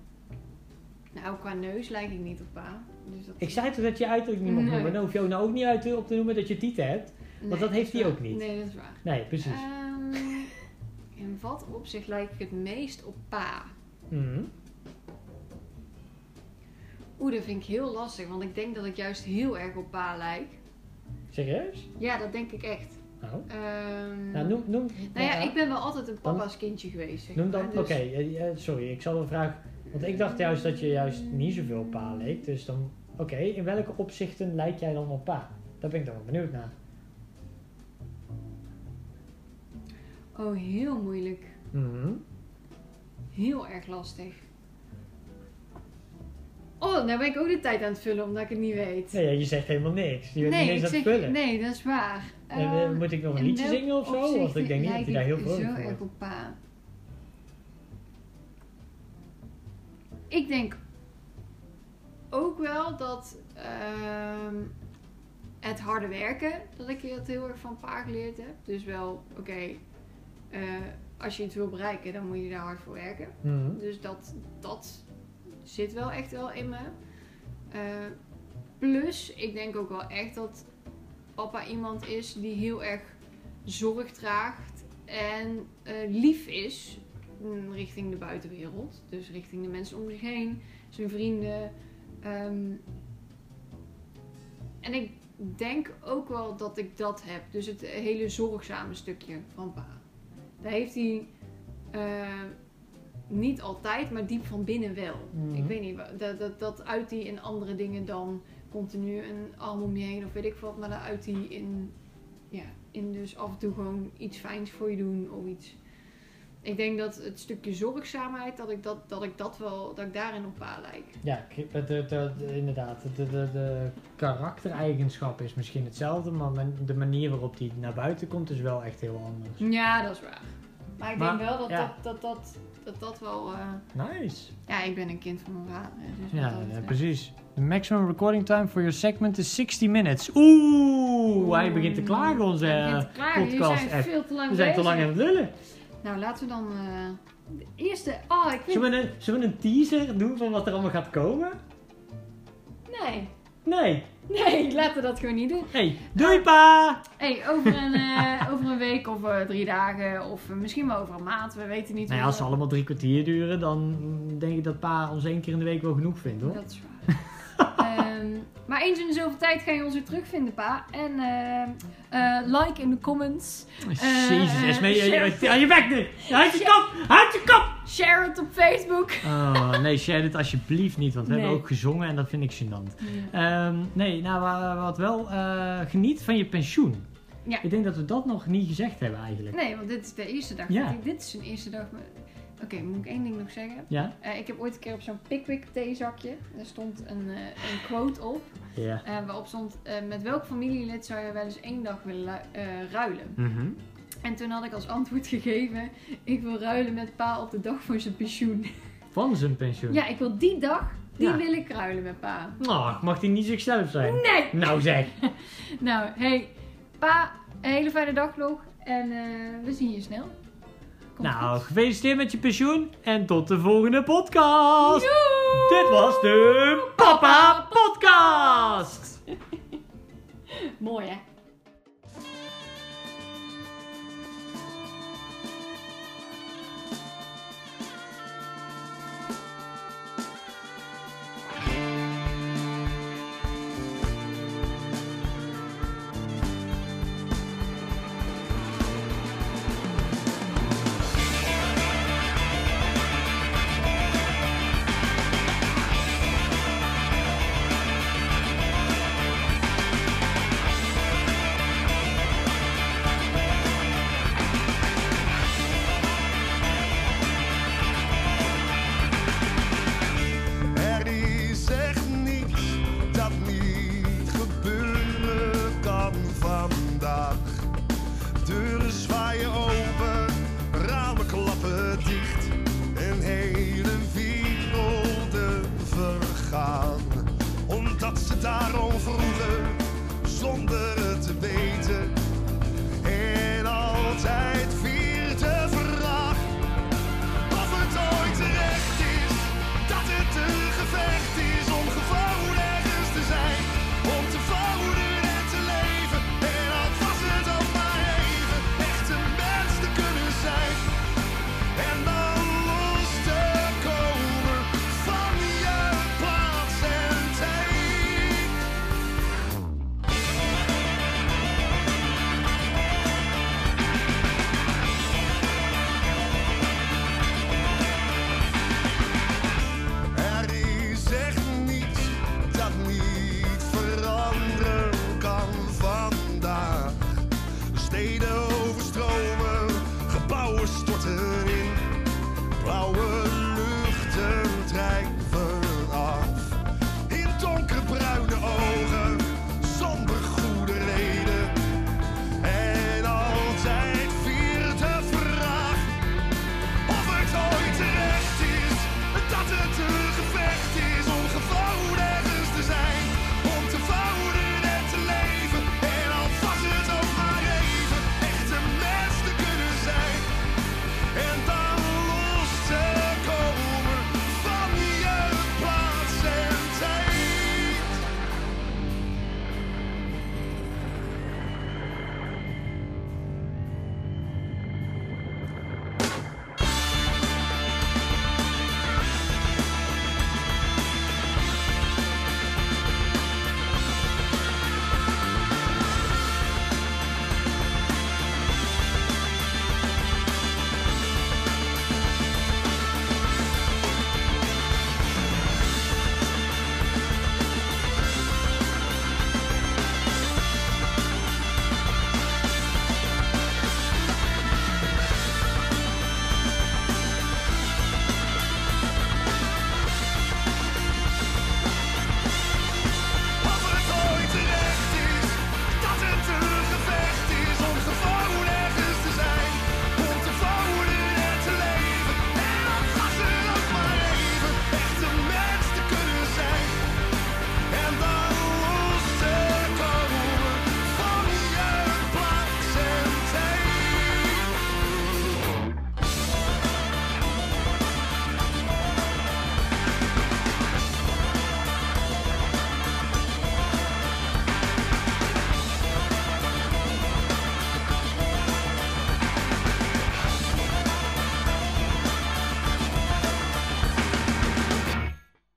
Speaker 2: Nou, qua neus lijk ik niet op pa. Dus dat...
Speaker 1: Ik zei toch dat je uiterlijk niet mag
Speaker 2: Nee.
Speaker 1: noemen. Dan hoef je ook nou ook niet uit te- op te noemen dat je tieten hebt.
Speaker 2: Nee,
Speaker 1: dat heeft
Speaker 2: is
Speaker 1: hij
Speaker 2: waar.
Speaker 1: ook niet.
Speaker 2: Nee, dat is waar.
Speaker 1: Nee, precies.
Speaker 2: Ehm, in wat opzicht lijk ik het meest op pa?
Speaker 1: Mhm.
Speaker 2: Oeh, dat vind ik heel lastig, want ik denk dat ik juist heel erg op pa lijk.
Speaker 1: Serieus?
Speaker 2: Ja, dat denk ik echt.
Speaker 1: Nou,
Speaker 2: Ehm,
Speaker 1: nou noem, noem,
Speaker 2: nou ja,
Speaker 1: ja,
Speaker 2: ik ben wel altijd een papa's kindje geweest. Zeg
Speaker 1: noem
Speaker 2: maar,
Speaker 1: dan. Oké,
Speaker 2: dus-
Speaker 1: eh, eh, sorry, ik zal een vraag. Want ik dacht juist dat je juist niet zoveel op pa leek. Dus dan, oké, in welke opzichten lijk jij dan op pa? Daar ben ik dan wel benieuwd naar.
Speaker 2: Oh, heel moeilijk.
Speaker 1: Mhm.
Speaker 2: Heel erg lastig. Oh, nou ben ik ook de tijd aan het vullen omdat ik het niet weet.
Speaker 1: Nee, ja, je zegt helemaal niks. Je bent
Speaker 2: Nee,
Speaker 1: niet eens
Speaker 2: ik
Speaker 1: aan het
Speaker 2: zeg,
Speaker 1: vullen.
Speaker 2: nee, dat is waar.
Speaker 1: En, eh,
Speaker 2: Ehm,
Speaker 1: moet ik nog een
Speaker 2: in
Speaker 1: liedje
Speaker 2: welk
Speaker 1: zingen of zo? Want
Speaker 2: opzicht
Speaker 1: ik denk niet dat hij daar heel
Speaker 2: lijk ik
Speaker 1: vrolijk
Speaker 2: zo
Speaker 1: voor
Speaker 2: erg
Speaker 1: wordt.
Speaker 2: op pa. Ik denk ook wel dat ehm, het harde werken, dat ik dat heel erg van pa geleerd heb. Dus wel, oké, eh, als je iets wil bereiken, dan moet je daar hard voor werken.
Speaker 1: Mhm.
Speaker 2: Dus dat, dat zit wel echt wel in me. Eh, plus, ik denk ook wel echt dat papa iemand is die heel erg zorg draagt en eh, lief is mm, richting de buitenwereld. Dus richting de mensen om zich heen, zijn vrienden. ehm. en ik denk ook wel dat ik dat heb. Dus het hele zorgzame stukje van pa. Daar heeft hij eh, niet altijd, maar diep van binnen wel.
Speaker 1: Mhm.
Speaker 2: Ik weet niet, wa- dat, dat, dat uit hij in andere dingen dan continu een arm om je heen of weet ik wat. Maar dat uit hij in, ja, in dus af en toe gewoon iets fijns voor je doen of iets. Ik denk dat het stukje zorgzaamheid, dat ik dat, dat, ik dat wel, dat ik daarin op pa lijk.
Speaker 1: Ja, ik- de, de, de- inderdaad. De, de, de karaktereigenschap is misschien hetzelfde, maar men- de manier waarop die naar buiten komt is wel echt heel anders.
Speaker 2: Ja, dat is waar. Maar ik
Speaker 1: Maar,
Speaker 2: denk wel dat,
Speaker 1: ja.
Speaker 2: dat, dat, dat, dat dat wel... eh,
Speaker 1: Nice.
Speaker 2: ja, ik ben een kind van mijn vader. hè, Dus
Speaker 1: Ja,
Speaker 2: wat dat
Speaker 1: ja,
Speaker 2: betreft.
Speaker 1: precies. De maximum recording time for your segment is 60 minutes. Oeh, hij begint te klagen onze...
Speaker 2: Hij begint te klagen. Jullie
Speaker 1: eh, podcast
Speaker 2: zijn
Speaker 1: app.
Speaker 2: veel te lang
Speaker 1: We zijn te
Speaker 2: bezig.
Speaker 1: lang aan het lullen.
Speaker 2: Nou, laten we dan eh, de eerste... Oh, ik vind...
Speaker 1: Zullen we, een, zullen we een teaser doen van wat er allemaal gaat komen?
Speaker 2: Nee.
Speaker 1: Nee.
Speaker 2: Nee, laten we dat gewoon niet doen.
Speaker 1: Hey, doei pa!
Speaker 2: hey, over, een, eh, over een week of eh, drie dagen of eh, misschien wel over een maand. We weten niet
Speaker 1: Nou ja,
Speaker 2: hoe-
Speaker 1: als ze allemaal drie kwartier duren, dan denk ik dat pa ons één keer in de week wel genoeg vindt hoor.
Speaker 2: Dat is waar. Ehm, maar eens in de zoveel tijd ga je ons weer terugvinden, pa. En ehm, eh, like in de comments. Eh,
Speaker 1: Jezus,
Speaker 2: eh,
Speaker 1: Esmee, je-
Speaker 2: sheriff.
Speaker 1: je- aan je bek nu! Houd je kop! Houd je kop!
Speaker 2: Share het op Facebook.
Speaker 1: Oh, nee, share dit alsjeblieft niet, want we
Speaker 2: Nee.
Speaker 1: hebben ook gezongen en dat vind ik gênant. Ehm, nee, nou wa- wat wel, eh, geniet van je pensioen.
Speaker 2: Ja.
Speaker 1: Ik denk dat we dat nog niet gezegd hebben eigenlijk.
Speaker 2: Nee, want dit is de eerste dag.
Speaker 1: Ja.
Speaker 2: Dit- Dit is een eerste dag. maar- Oké, moet ik één ding nog zeggen?
Speaker 1: Ja?
Speaker 2: Eh, ik heb ooit een keer op zo'n Pickwick theezakje, daar stond een, eh, een quote op.
Speaker 1: Ja.
Speaker 2: eh, waarop stond, eh, met welk familielid zou je wel eens één dag willen lu- eh, ruilen?
Speaker 1: Mhm.
Speaker 2: En toen had ik als antwoord gegeven, ik wil ruilen met pa op de dag voor zijn pensioen.
Speaker 1: Van zijn pensioen.
Speaker 2: ja, ik wil die dag, die
Speaker 1: Ja.
Speaker 2: wil ik ruilen met pa.
Speaker 1: Oh, mag die niet zichzelf zijn?
Speaker 2: Nee!
Speaker 1: Nou zeg.
Speaker 2: Nou, hey, pa, een hele fijne dag nog en eh, we zien je snel. Komt
Speaker 1: nou,
Speaker 2: goed.
Speaker 1: gefeliciteerd met je pensioen en tot de volgende podcast.
Speaker 2: Joe!
Speaker 1: Dit was de Papa Podcast.
Speaker 2: Mooi hè?